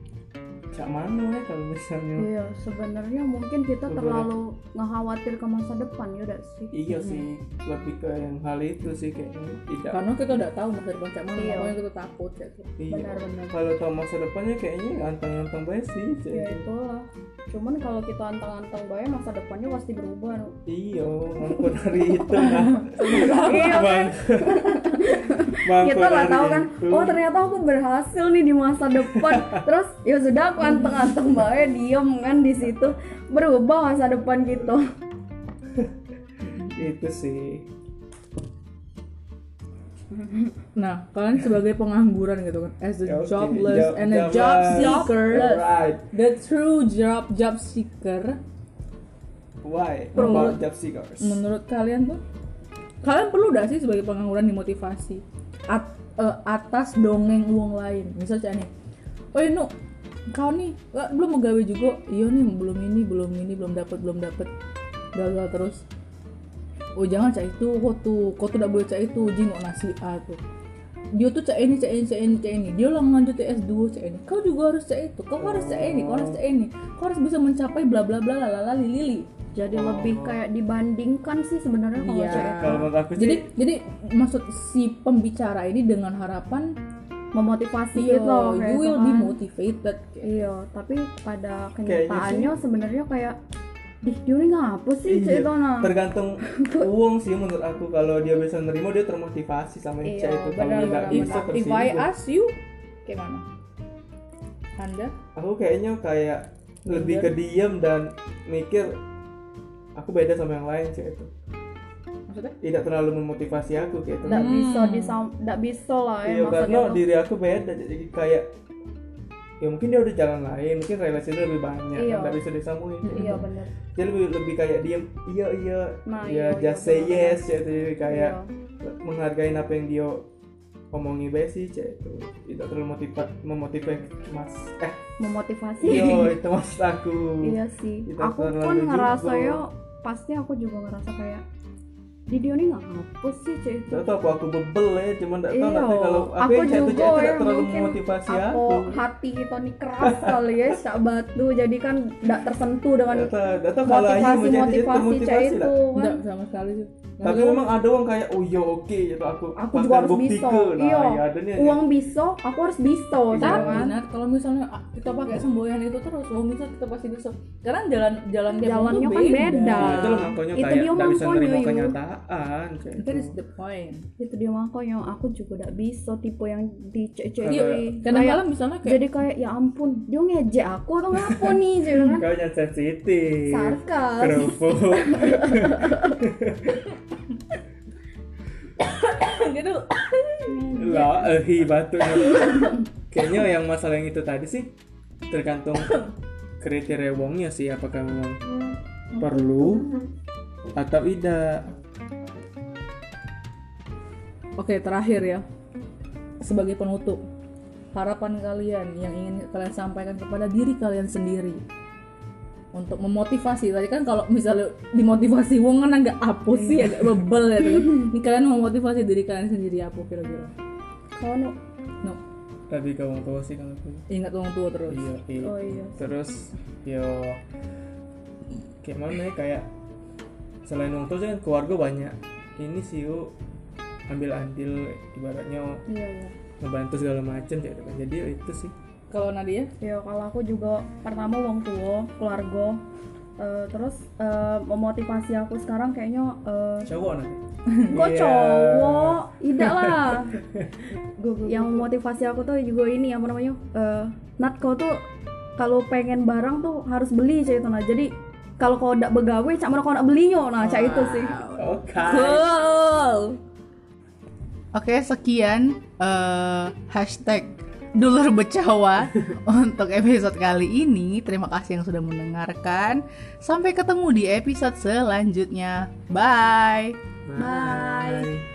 B: cak mana ya kalau misalnya
C: iya sebenarnya mungkin kita
B: Sebenarnya.
C: terlalu ngekhawatir ke masa depan ya udah sih
B: iya sih lebih ke yang hal itu sih kayaknya tidak
A: karena kita udah tahu masa depan cak mana
C: Iya.
A: makanya kita takut ya
B: Iya.
C: Benar-benar.
B: Kalau tahu masa depannya kayaknya anteng-anteng baik sih. Cek.
C: ya itulah cuman kalau kita antang-antang bae masa depannya pasti berubah no.
B: Iya, mampu dari itu mah.
C: Iya,
B: Bang. Mampu
C: kita nggak
B: dari
C: tahu kan
B: itu.
C: oh ternyata aku berhasil nih di masa depan terus ya sudah aku anteng-anteng bae diem kan di situ berubah masa depan gitu
B: Itu sih.
A: nah kalian sebagai pengangguran gitu kan as the
B: Ya, oke.
A: jobless
B: Job-
A: and a
B: jobless.
A: job seeker
B: Alright.
A: the true job job seeker
B: Why?
A: Menurut-
B: About job seekers.
A: menurut kalian tuh kalian perlu gak sih sebagai pengangguran dimotivasi At- eh, atas dongeng uang lain misalnya nih oh nu kau nih eh, belum gawe juga iya nih belum ini belum ini belum dapat belum dapat gagal terus oh jangan cak itu kok tuh kok tuh udah boleh cak itu jingok nasi A tuh dia tuh cak ini cak ini cak ini cak ini dia ulang lanjut S2 cak ini kau juga harus cak itu kau harus cak ini kau harus cak ini kau harus bisa mencapai bla bla bla lalala lili
C: jadi
B: Oh.
C: lebih kayak dibandingkan sih sebenarnya kalau
A: Iya.
C: cewek
B: Kalau menurut aku
A: jadi
B: sih,
A: jadi maksud si pembicara ini dengan harapan
C: memotivasi
B: Iya,
A: yo
C: gitu loh kayak
A: you will
C: gitu
A: be
C: kan.
A: motivated
C: iya tapi pada
B: Kayaknya
C: kenyataannya sebenarnya kayak Dih, dia ini ngapa sih
B: Iya,
C: cek itu nah
B: tergantung uang sih menurut aku kalau dia bisa nerima dia termotivasi sama yang
A: Iya,
B: cek itu kalau
A: benar,
B: nggak
A: benar,
B: bisa
A: benar. if I
B: tersinggung
A: ask you gimana anda
B: aku kayaknya kayak lebih ke diam dan mikir aku beda sama yang lain cek itu
A: maksudnya
B: tidak terlalu memotivasi aku kayak itu.
C: nggak bisa disam nggak bisa lah ya
B: Iya
C: maksudnya
B: karena
C: tuh.
B: diri aku beda jadi kayak ya mungkin dia udah jalan lain mungkin relasi dia lebih banyak
C: Iya.
B: kan nggak bisa disambungin
C: iya bener
B: jadi lebih, lebih kayak diam iya iya
C: Nah,
B: ya
C: iya,
B: just
C: iya,
B: say
C: benar-benar.
B: yes ya jadi kayak
C: Iya.
B: menghargai apa yang dia omongi bae sih cek itu tidak terlalu motiva memotivasi mas eh
C: memotivasi
B: yo itu maksud aku
C: Iya sih.
B: Iya, oh, Kita
C: aku
B: terlalu
C: pun ngerasa ya,
B: juga.
C: yo pasti aku juga ngerasa kayak di Dio nih nggak ngapus sih cuy itu
B: Tahu aku aku bebel ya, cuman enggak tahu
C: Iya,
B: nanti kalau aku,
C: aku
B: yang satu
C: juga
B: cewek tidak
C: ya,
B: terlalu
C: mungkin
B: memotivasi
C: aku
B: aku.
C: hati Tony keras kali ya syak batu jadi kan tidak tersentuh dengan
B: Enggak tahu, enggak tahu Ya. kalau akhirnya
C: motivasi
B: menjadi jadi
C: motivasi cewek
B: termotivasi
C: Iya. itu
B: lah.
C: kan
F: Enggak sama sekali sih. Nggak
B: Tapi
F: tahu.
B: memang ada orang kayak oh iya oke gitu aku.
C: aku
B: bahkan
C: juga harus
B: bukti
C: bisa
B: ke. Nah,
C: iya
B: ya ada nih.
C: uang bisa aku harus bisa
B: Iya.
C: kan
F: Benar, kalau misalnya ah, kita pakai semboyan itu terus, oh misal kita pasti bisa. Karena jalan jalan tiap orang tuh
C: Jalannya kan beda.
B: Nah, itu loh makanya
C: Itu
B: kayak
C: dia
B: enggak bisa
C: mampunya,
B: nerima
C: Yu.
B: kenyataan. kayak
F: That is
B: gitu.
F: the point.
C: itu dia makanya aku juga tidak bisa tipe yang di cewek
B: Iya,
F: Kadang-kadang misalnya kayak
C: jadi kayak ya ampun dia ngejek aku atau ngapa nih jadi kan
B: Kau yang sensitif.
C: sarkas
B: Kerupuk.
F: gitu.
B: Lah, eh, batunya. Kayaknya yang masalah yang itu tadi sih tergantung kriteria wongnya sih apakah memang
C: Hmm.
B: perlu atau tidak.
F: Oke, terakhir ya. Sebagai penutup, harapan kalian yang ingin kalian sampaikan kepada diri kalian sendiri untuk memotivasi tadi kan kalau misalnya dimotivasi wong kan agak apa sih agak bebel ya tuh. ini kalian memotivasi diri kalian sendiri apa kira-kira
C: kau nu-
F: no
B: Tapi kamu tahu sih kalau aku.
F: ingat orang tua terus
B: Iya, iya.
C: oh iya
B: Terus yo gimana ya kayak selain orang tua sih kan keluarga banyak. Ini sih yo ambil andil ibaratnya
C: iya iya
B: ngebantu segala macam gitu kan. Jadi yo, itu sih
F: kalau Nadia
C: Ya kalau aku juga pertama wong tua, keluarga, eh, terus eh, memotivasi aku sekarang kayaknya eh,
B: cowok nanti.
C: kok
B: Iya.
C: cowok, tidak lah. yang memotivasi aku tuh juga ini apa namanya, eh, Nat kau tuh kalau pengen barang tuh harus beli cah itu nah. Jadi kalau kau tidak begawe, cak mana kau nak belinya nah cak itu sih.
B: Oke.
A: Cool. Oke, sekian eh, hashtag dulur becawa untuk episode kali ini. Terima kasih yang sudah mendengarkan. Sampai ketemu di episode selanjutnya. Bye.
B: Bye.